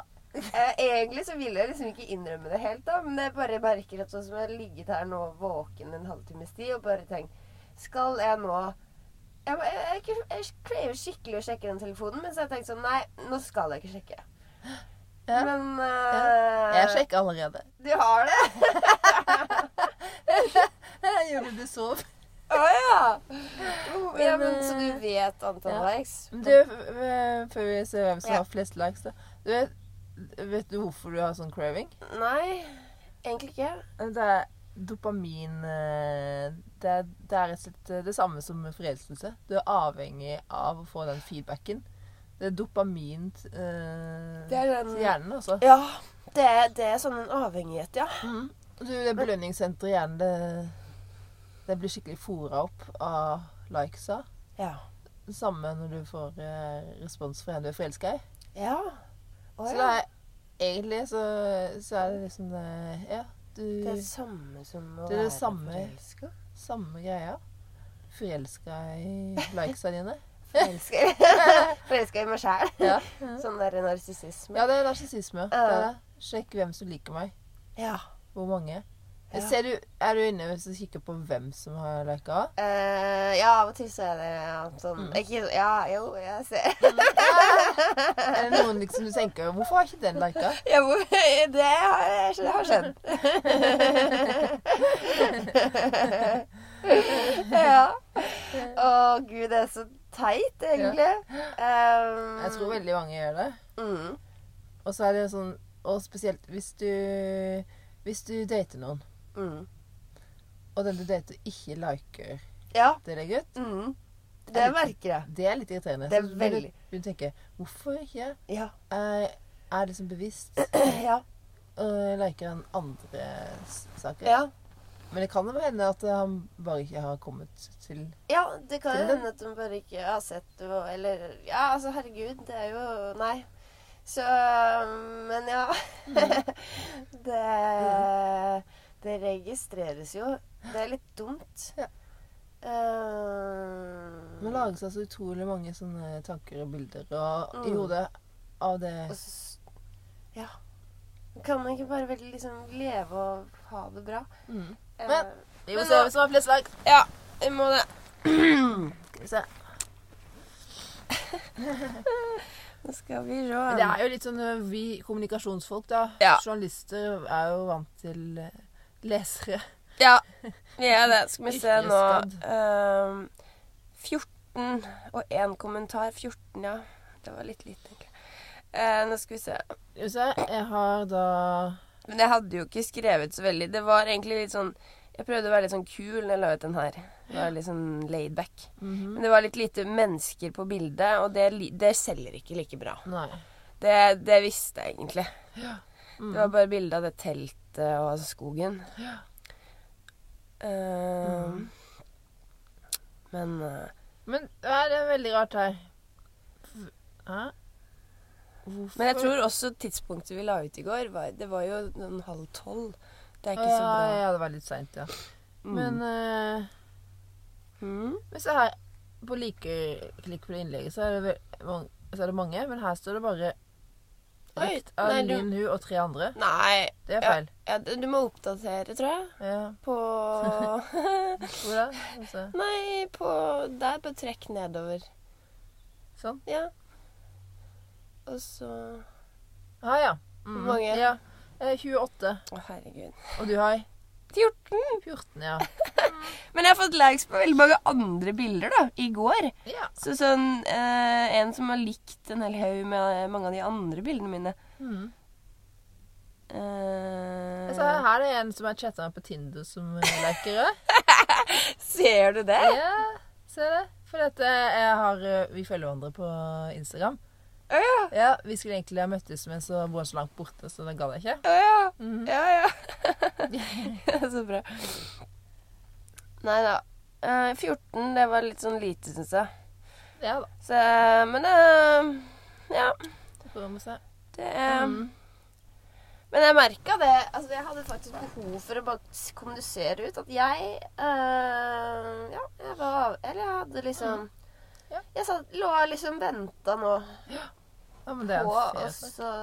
Speaker 2: Eh, Egentlig så ville jeg liksom ikke innrømme det helt, da, men jeg bare merker at sånn som jeg har ligget her nå våken en halvtimes tid og bare tenkt Skal jeg nå Jeg, må- jeg, jeg, jeg craver skikkelig å sjekke den telefonen, men så har jeg tenkt sånn Nei, nå skal jeg ikke sjekke.
Speaker 4: Ja.
Speaker 2: Men
Speaker 4: Jeg
Speaker 2: eh,
Speaker 4: sjekker allerede.
Speaker 2: Du har det?
Speaker 4: Gjorde du sov?
Speaker 2: Å ja. Oh, ja! Men
Speaker 4: Men, eh,
Speaker 2: så du vet antall
Speaker 4: ja.
Speaker 2: likes?
Speaker 4: Men Du, eh, før vi ser hvem som
Speaker 2: Ja.
Speaker 4: har flest likes, da. Du vet, vet du hvorfor du har sånn craving?
Speaker 2: Nei, egentlig ikke.
Speaker 4: Det er dopamin eh, det, er- det er rett og slett eh, det samme som forelskelse. Du er avhengig av å få den feedbacken. Det er dopamin eh,
Speaker 5: Det er den-
Speaker 4: til hjernen, altså.
Speaker 5: Ja. Det, er- det er sånn en avhengighet, ja.
Speaker 4: Du, det belønningssenteret i hjernen, det, det blir skikkelig fora opp av likesa.
Speaker 5: Ja.
Speaker 4: Det samme når du får eh, respons fra en du er forelska i.
Speaker 5: ja. Å,
Speaker 4: Så det
Speaker 5: ja.
Speaker 4: er egentlig så, så er det liksom eh, Ja, du
Speaker 5: Det er det samme som å
Speaker 4: Det er det
Speaker 5: være
Speaker 4: samme.
Speaker 5: forelska.
Speaker 4: Samme greia. Forelska i likesa dine.
Speaker 5: Forelska- Forelska i meg sjæl.
Speaker 4: Ja.
Speaker 5: Sånn der narsissisme.
Speaker 4: Ja, det er narsissisme. Det er det. Sjekk hvem som liker meg.
Speaker 5: Ja.
Speaker 4: Hvor mange.
Speaker 5: Ja.
Speaker 4: Ser du, er du inne hvis du kikker på hvem som har lika?
Speaker 5: Eh, ja, av og til så er det ja, sånn ikke, så- Ja, jo, jeg ser
Speaker 4: Er det noen liksom du tenker 'Hvorfor har ikke den lika?'
Speaker 5: ja, hvor, Det har, det har skjedd. ja. Å gud, det er så teit, egentlig. Um,
Speaker 4: Jeg tror veldig mange gjør det.
Speaker 5: mm,
Speaker 4: Og så er det sånn Og spesielt hvis du Hvis du dater noen,
Speaker 5: mm.
Speaker 4: og den du dater, ikke liker
Speaker 5: Ja.
Speaker 4: dere gutt,
Speaker 5: Mm, det merker jeg.
Speaker 4: det er litt irriterende.
Speaker 5: Det er
Speaker 4: Så
Speaker 5: veldig-
Speaker 4: Du, du tenker 'Hvorfor ikke?'
Speaker 5: Ja.
Speaker 4: Jeg er liksom bevisst
Speaker 5: ja.
Speaker 4: og liker Eh, han andre s- saker.
Speaker 5: ja.
Speaker 4: Men det kan jo hende at han bare ikke har kommet til
Speaker 5: Ja, det kan jo
Speaker 4: Til den.
Speaker 5: hende at de bare ikke har sett det, og- eller Ja, altså, herregud, det er jo Nei. Så Men ja. det Det registreres jo. Det er litt dumt.
Speaker 4: Ja.
Speaker 5: Ehm,
Speaker 4: Man lager seg så altså utrolig mange sånne tanker og bilder og, i
Speaker 5: Mm.
Speaker 4: hodet av det.
Speaker 5: og s- Ja. Kan man ikke bare veldig liksom leve og ha det bra?
Speaker 4: Mm.
Speaker 5: Eh,
Speaker 4: Men- Vi må
Speaker 5: Men
Speaker 4: se
Speaker 5: nå-
Speaker 4: hvem som har flest lag.
Speaker 5: ja, vi må det.
Speaker 4: Skal vi se.
Speaker 5: Nå skal vi
Speaker 4: Men det
Speaker 5: se.
Speaker 4: er jo litt sånn øh, Vi kommunikasjonsfolk, da.
Speaker 5: Ja.
Speaker 4: Journalister er jo vant til øh, lesere.
Speaker 5: Ja, vi er det. Skal vi se nå.
Speaker 4: Yrkesskadd.
Speaker 5: Ehm, 14 og én kommentar. 14, ja. Det var litt lite, egentlig. Eh, nå skal vi se.
Speaker 4: Skal vi se. Jeg har da
Speaker 5: Men jeg hadde jo ikke skrevet så veldig. Det var egentlig litt sånn Jeg prøvde å være litt sånn kul når jeg la ut den her. Være litt sånn laid back. Men det var litt lite mennesker på bildet, og det, li- det selger ikke like bra.
Speaker 4: Nei.
Speaker 5: Det, det visste jeg egentlig.
Speaker 4: Mm.
Speaker 5: Det var bare bilde av det teltet og altså skogen. Eh, Men eh,
Speaker 4: Men ja, det er veldig rart her. Hæ? Hvorfor
Speaker 5: Men jeg tror også tidspunktet vi la ut i går, var, det var jo noen halv tolv. Det er ikke
Speaker 4: ja,
Speaker 5: så bra.
Speaker 4: ja, det var litt seint, ja. Men øh,
Speaker 5: Mm.
Speaker 4: Men se her. På like klikk på det innlegget så er det, vel- mange, så er det mange, men her står det bare
Speaker 5: Oi,
Speaker 4: Rett av
Speaker 5: nei, du-
Speaker 4: Linn Hu og tre andre.
Speaker 5: Nei,
Speaker 4: Det er feil.
Speaker 5: ja, du du må oppdatere, tror jeg.
Speaker 4: Ja.
Speaker 5: På
Speaker 4: Hvor da? Skal vi se.
Speaker 5: Nei, på der. På trekk nedover.
Speaker 4: Sånn.
Speaker 5: Ja. Og så
Speaker 4: Ah, ja. Mm.
Speaker 5: Hvor mange?
Speaker 4: Ja. Eh, 28.
Speaker 5: Å, herregud.
Speaker 4: Og du har
Speaker 5: 14.
Speaker 4: 14, ja.
Speaker 5: Men jeg har fått likes på veldig mange andre bilder, da. I går.
Speaker 4: ja.
Speaker 5: Så sånn eh, En som har likt en hel haug med eh, mange av de andre bildene mine.
Speaker 4: Mm.
Speaker 5: Eh,
Speaker 4: Så altså, her er det en som er chatta med på Tinder som leker eh. det.
Speaker 5: Ser du det?
Speaker 4: Ja, ser det. For dette, jeg har, eh, vi følger hverandre på Instagram.
Speaker 5: ja.
Speaker 4: Ja, Vi skulle egentlig ha møttes, men så bor han så langt borte, så det gadd jeg ikke.
Speaker 5: Å ja.
Speaker 4: Mhm.
Speaker 5: Ja, ja. Så bra. Nei da. Eh, 14, det var litt sånn lite, syns jeg.
Speaker 4: Ja da.
Speaker 5: Så, men eh, ja.
Speaker 4: så får vi se.
Speaker 5: Det eh,
Speaker 4: Um.
Speaker 5: Men jeg merka det. Altså, jeg hadde faktisk behov for å bare s- kommunisere ut at jeg eh, Ja, jeg var Eller jeg hadde liksom
Speaker 4: Mm. Ja.
Speaker 5: Jeg satt, lå og liksom venta nå
Speaker 4: Ja, altså. men det er
Speaker 5: på
Speaker 4: en
Speaker 5: å
Speaker 4: fair sak.
Speaker 5: så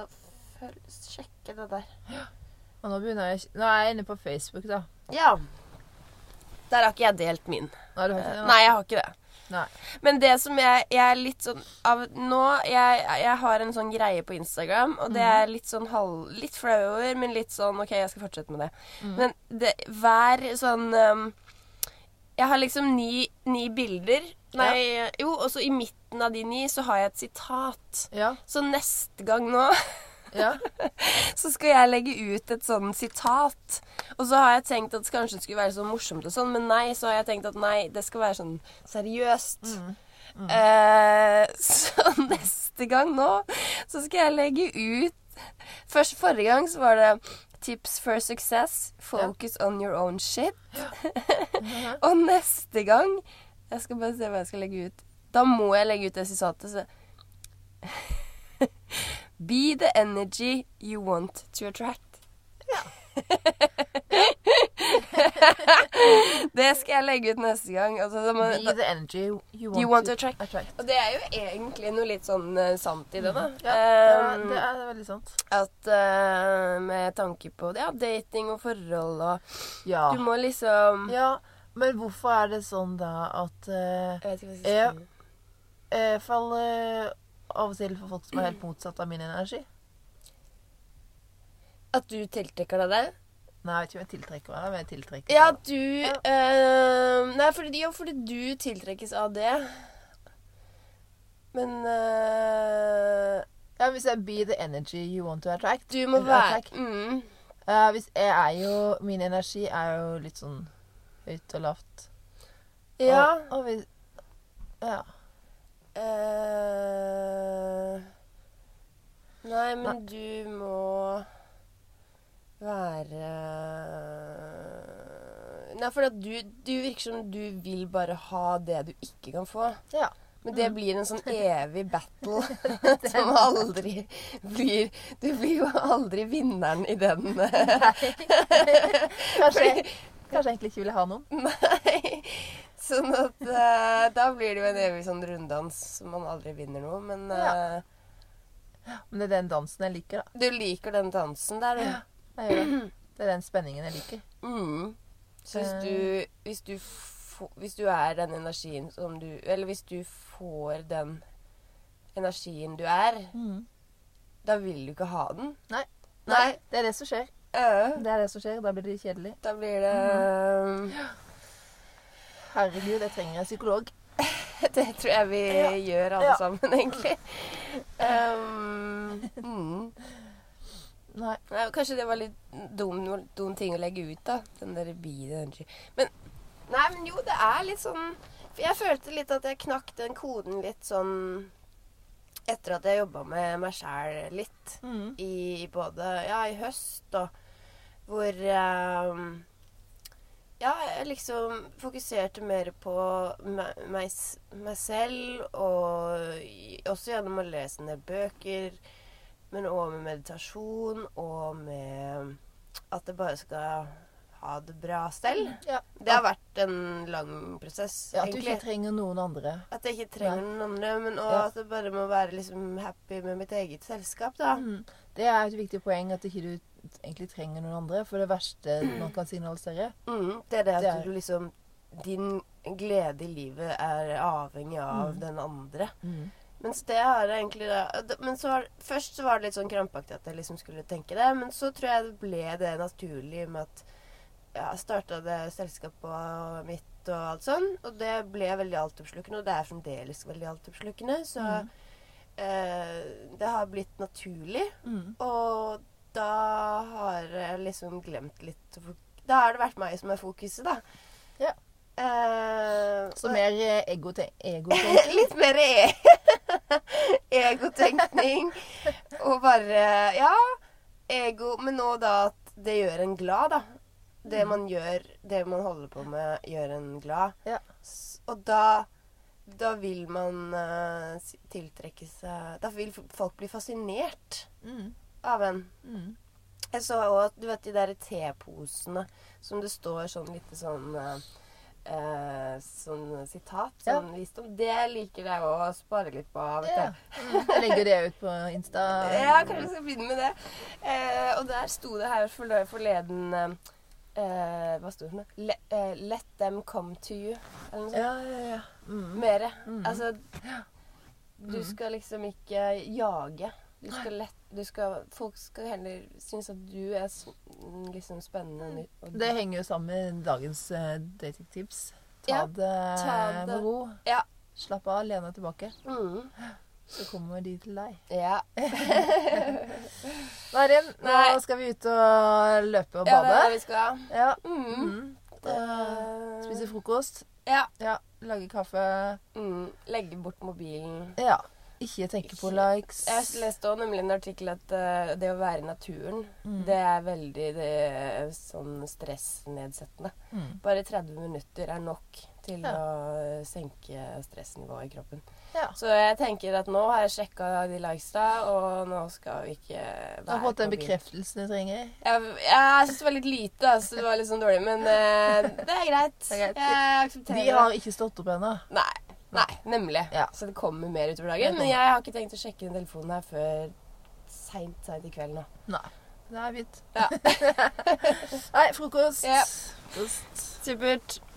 Speaker 5: føl- sjekke det der.
Speaker 4: Og nå begynner jeg Nå er jeg inne på Facebook, da.
Speaker 5: Ja. Der har ikke jeg delt min.
Speaker 4: Nei, du har ikke det?
Speaker 5: Nei, jeg har ikke det.
Speaker 4: Nei.
Speaker 5: Men det som jeg, jeg er litt sånn av Nå jeg, jeg har en sånn greie på Instagram, og
Speaker 4: Mhm.
Speaker 5: det er litt sånn halv Litt flau over, men litt sånn OK, jeg skal fortsette med det.
Speaker 4: Mhm.
Speaker 5: Men det, hver sånn um, Jeg har liksom ni, ni bilder. Nei, jo, og så i midten av de ni så har jeg et sitat.
Speaker 4: Ja.
Speaker 5: Så neste gang nå
Speaker 4: Ja.
Speaker 5: så skal jeg legge ut et sånn sitat. Og så har jeg tenkt at kanskje det skulle være sånn morsomt og sånn, men nei, så har jeg tenkt at nei, det skal være sånn seriøst. Eh, så neste gang nå, så skal jeg legge ut Først forrige gang så var det Tips for success. Focus on your own shit.
Speaker 4: Mm-hmm.
Speaker 5: Og neste gang Jeg skal bare se hva jeg skal legge ut. Da må jeg legge ut det sitatet. Så Be the energy you want to attract. det skal jeg legge ut neste gang. Altså, da må,
Speaker 4: Be the energy you want,
Speaker 5: you want to attract.
Speaker 4: attract.
Speaker 5: Og det er jo egentlig noe litt sånn eh, sant i det, da.
Speaker 4: Ja, det er,
Speaker 5: Ehm,
Speaker 4: det er veldig sant.
Speaker 5: At eh, med tanke på ja, dating og forhold og
Speaker 4: Ja.
Speaker 5: Du må liksom
Speaker 4: ja. Men hvorfor er det sånn da at eh,
Speaker 5: Jeg vet ikke hva jeg
Speaker 4: Ja.
Speaker 5: skal si.
Speaker 4: Jeg faller av og til for folk som er helt motsatt av min energi.
Speaker 5: At du tiltrekker deg det?
Speaker 4: Nei, jeg vet ikke om jeg tiltrekker meg, men jeg tiltrekker
Speaker 5: Ja,
Speaker 4: meg.
Speaker 5: du eh, Nei, fordi, ja, fordi du tiltrekkes av det. Men eh,
Speaker 4: ja, men Hvis jeg be the energy you want to attract
Speaker 5: du må
Speaker 4: eller
Speaker 5: være
Speaker 4: attract.
Speaker 5: mm,
Speaker 4: Eh, hvis jeg er jo, Min energi er jo litt sånn høyt og lavt.
Speaker 5: Ja.
Speaker 4: Og, og hvis, ja.
Speaker 5: eh, nei, men du må være Nei, for at du, du virker som du vil bare ha det du ikke kan få.
Speaker 4: Ja.
Speaker 5: Men det blir en sånn evig battle som aldri blir Du blir jo aldri vinneren i den. eh,
Speaker 4: Kanskje, jeg- kanskje jeg egentlig ikke ville ha noen.
Speaker 5: Nei. Sånn at eh, da blir det jo en evig sånn runddans som man aldri vinner noe. Men eh,
Speaker 4: Men det er den dansen jeg liker, da.
Speaker 5: du liker den dansen der, du.
Speaker 4: Jeg gjør det. det er den spenningen jeg liker.
Speaker 5: Mm. Så hvis
Speaker 4: Eh.
Speaker 5: du, hvis, du få, hvis du er den energien som du Eller hvis du får den energien du er,
Speaker 4: Mm.
Speaker 5: da vil du ikke ha den.
Speaker 4: Nei.
Speaker 5: Nei.
Speaker 4: Det er det som skjer.
Speaker 5: Øh,
Speaker 4: Det er det som skjer. Da blir det kjedelig.
Speaker 5: da blir
Speaker 4: Mm-hmm.
Speaker 5: det
Speaker 4: Herregud, jeg trenger en psykolog.
Speaker 5: Det tror jeg vi gjør alle
Speaker 4: Ja.
Speaker 5: sammen, egentlig. Um, mm.
Speaker 4: Nei.
Speaker 5: Nei, kanskje det var litt dum, dum ting å legge ut, da. Den der bilen. energy. Men Nei, men jo, det er litt sånn for Jeg følte litt at jeg knakk den koden litt sånn etter at jeg jobba med meg sjæl litt
Speaker 4: Mm.
Speaker 5: i både Ja, i høst og hvor ehm, Ja, jeg liksom fokuserte mer på meg, meg, s- meg selv, og i- også gjennom å lese ned bøker. Men òg med meditasjon, og med at det bare skal ha det bra selv.
Speaker 4: Ja.
Speaker 5: Det har vært en lang prosess,
Speaker 4: Ja, at du
Speaker 5: egentlig.
Speaker 4: ikke trenger noen andre.
Speaker 5: At jeg ikke trenger noen andre, men òg
Speaker 4: Ja.
Speaker 5: at det bare må være liksom happy med mitt eget selskap, da.
Speaker 4: Mm. Det er et viktig poeng at ikke du egentlig trenger noen andre. For det verste man kan signalisere
Speaker 5: Mm, det er det at
Speaker 4: Det er-
Speaker 5: du liksom Din glede i livet er avhengig av den andre.
Speaker 4: Mm.
Speaker 5: Mens det har jeg egentlig da- det- men så har, Først så var det litt sånn krampaktig at jeg liksom skulle tenke det, men så tror jeg det ble det naturlig med at ja, jeg starta det selskapet mitt og alt sånn. Og det ble veldig altoppslukende, og det er fremdeles veldig altoppslukende. Så
Speaker 4: Mm.
Speaker 5: eh, det har blitt naturlig.
Speaker 4: Mm.
Speaker 5: Og da har jeg liksom glemt litt å fok- Da har det vært meg som er fokuset, da.
Speaker 4: Ja.
Speaker 5: Eh,
Speaker 4: Så
Speaker 5: og-
Speaker 4: mer eh, ego til ego. til-
Speaker 5: Litt mer e egotenkning. Og bare Ja, ego. Men nå da at det gjør en glad, da.
Speaker 4: Mm.
Speaker 5: Det man gjør, det man holder på med, gjør en glad.
Speaker 4: Ja.
Speaker 5: S- Og da da vil man eh, s- tiltrekke seg Da vil f- folk bli fascinert
Speaker 4: Mm.
Speaker 5: av en.
Speaker 4: Mm.
Speaker 5: Jeg så òg at du vet de der teposene som det står sånn lite sånn eh, eh, Sånn sitat,
Speaker 4: Ja.
Speaker 5: sånn visdom. Det liker jeg òg å spare litt på. Vet
Speaker 4: Ja.
Speaker 5: du.
Speaker 4: Mm. Jeg legger det ut på Insta.
Speaker 5: Ja, kanskje vi skal begynne med det. Eh, og der sto det her forle- forleden eh, eh, Hva sto det for noe? Le, eh, let them come to you. Eller noe sånt.
Speaker 4: Ja, ja, ja. Mm.
Speaker 5: Mere.
Speaker 4: Mm.
Speaker 5: Altså Du skal liksom ikke jage. Du skal lett, du skal, folk skal heller synes at du er s- liksom spennende. og ny- Og
Speaker 4: Mm. Det henger jo sammen med dagens eh, datingtips. Ta,
Speaker 5: Ja,
Speaker 4: det
Speaker 5: ta det.
Speaker 4: med ro.
Speaker 5: Ja.
Speaker 4: Slapp av, len deg tilbake.
Speaker 5: mm,
Speaker 4: Så kommer de til deg.
Speaker 5: ja.
Speaker 4: Marin, nå
Speaker 5: Nei.
Speaker 4: skal vi ut og løpe og
Speaker 5: Ja, det er det
Speaker 4: bade.
Speaker 5: vi skal.
Speaker 4: Ja,
Speaker 5: Mm.
Speaker 4: mm.
Speaker 5: Eh,
Speaker 4: Spise frokost.
Speaker 5: Ja.
Speaker 4: Ja, Lage kaffe.
Speaker 5: Mm. Legge bort mobilen.
Speaker 4: Ja. Ikke tenke på likes.
Speaker 5: Jeg leste også nemlig en artikkel at eh, det å være i naturen,
Speaker 4: Mm.
Speaker 5: det er veldig det er sånn stressnedsettende.
Speaker 4: Mm.
Speaker 5: Bare 30 minutter er nok til
Speaker 4: Ja.
Speaker 5: å senke stressnivået i kroppen.
Speaker 4: Ja.
Speaker 5: Så jeg tenker at nå har jeg sjekka de likesa, og nå skal vi ikke være
Speaker 4: Jeg har fått den
Speaker 5: mobil.
Speaker 4: bekreftelsen jeg trenger.
Speaker 5: Jeg, jeg syns det var litt lite, altså. Det var litt sånn dårlig. Men eh, det er greit.
Speaker 4: Det er greit.
Speaker 5: Jeg aksepterer
Speaker 4: De har ikke stått opp ennå.
Speaker 5: det. Nei. Nei, nemlig.
Speaker 4: Ja.
Speaker 5: Så det kommer mer
Speaker 4: Det
Speaker 5: utover dagen.
Speaker 4: kommer.
Speaker 5: Men jeg har ikke tenkt å sjekke den telefonen her før seint, seint i kveld nå.
Speaker 4: Det er fint.
Speaker 5: Ja.
Speaker 4: Nei, frokost.
Speaker 5: Ja.
Speaker 4: Frokost.
Speaker 5: Supert.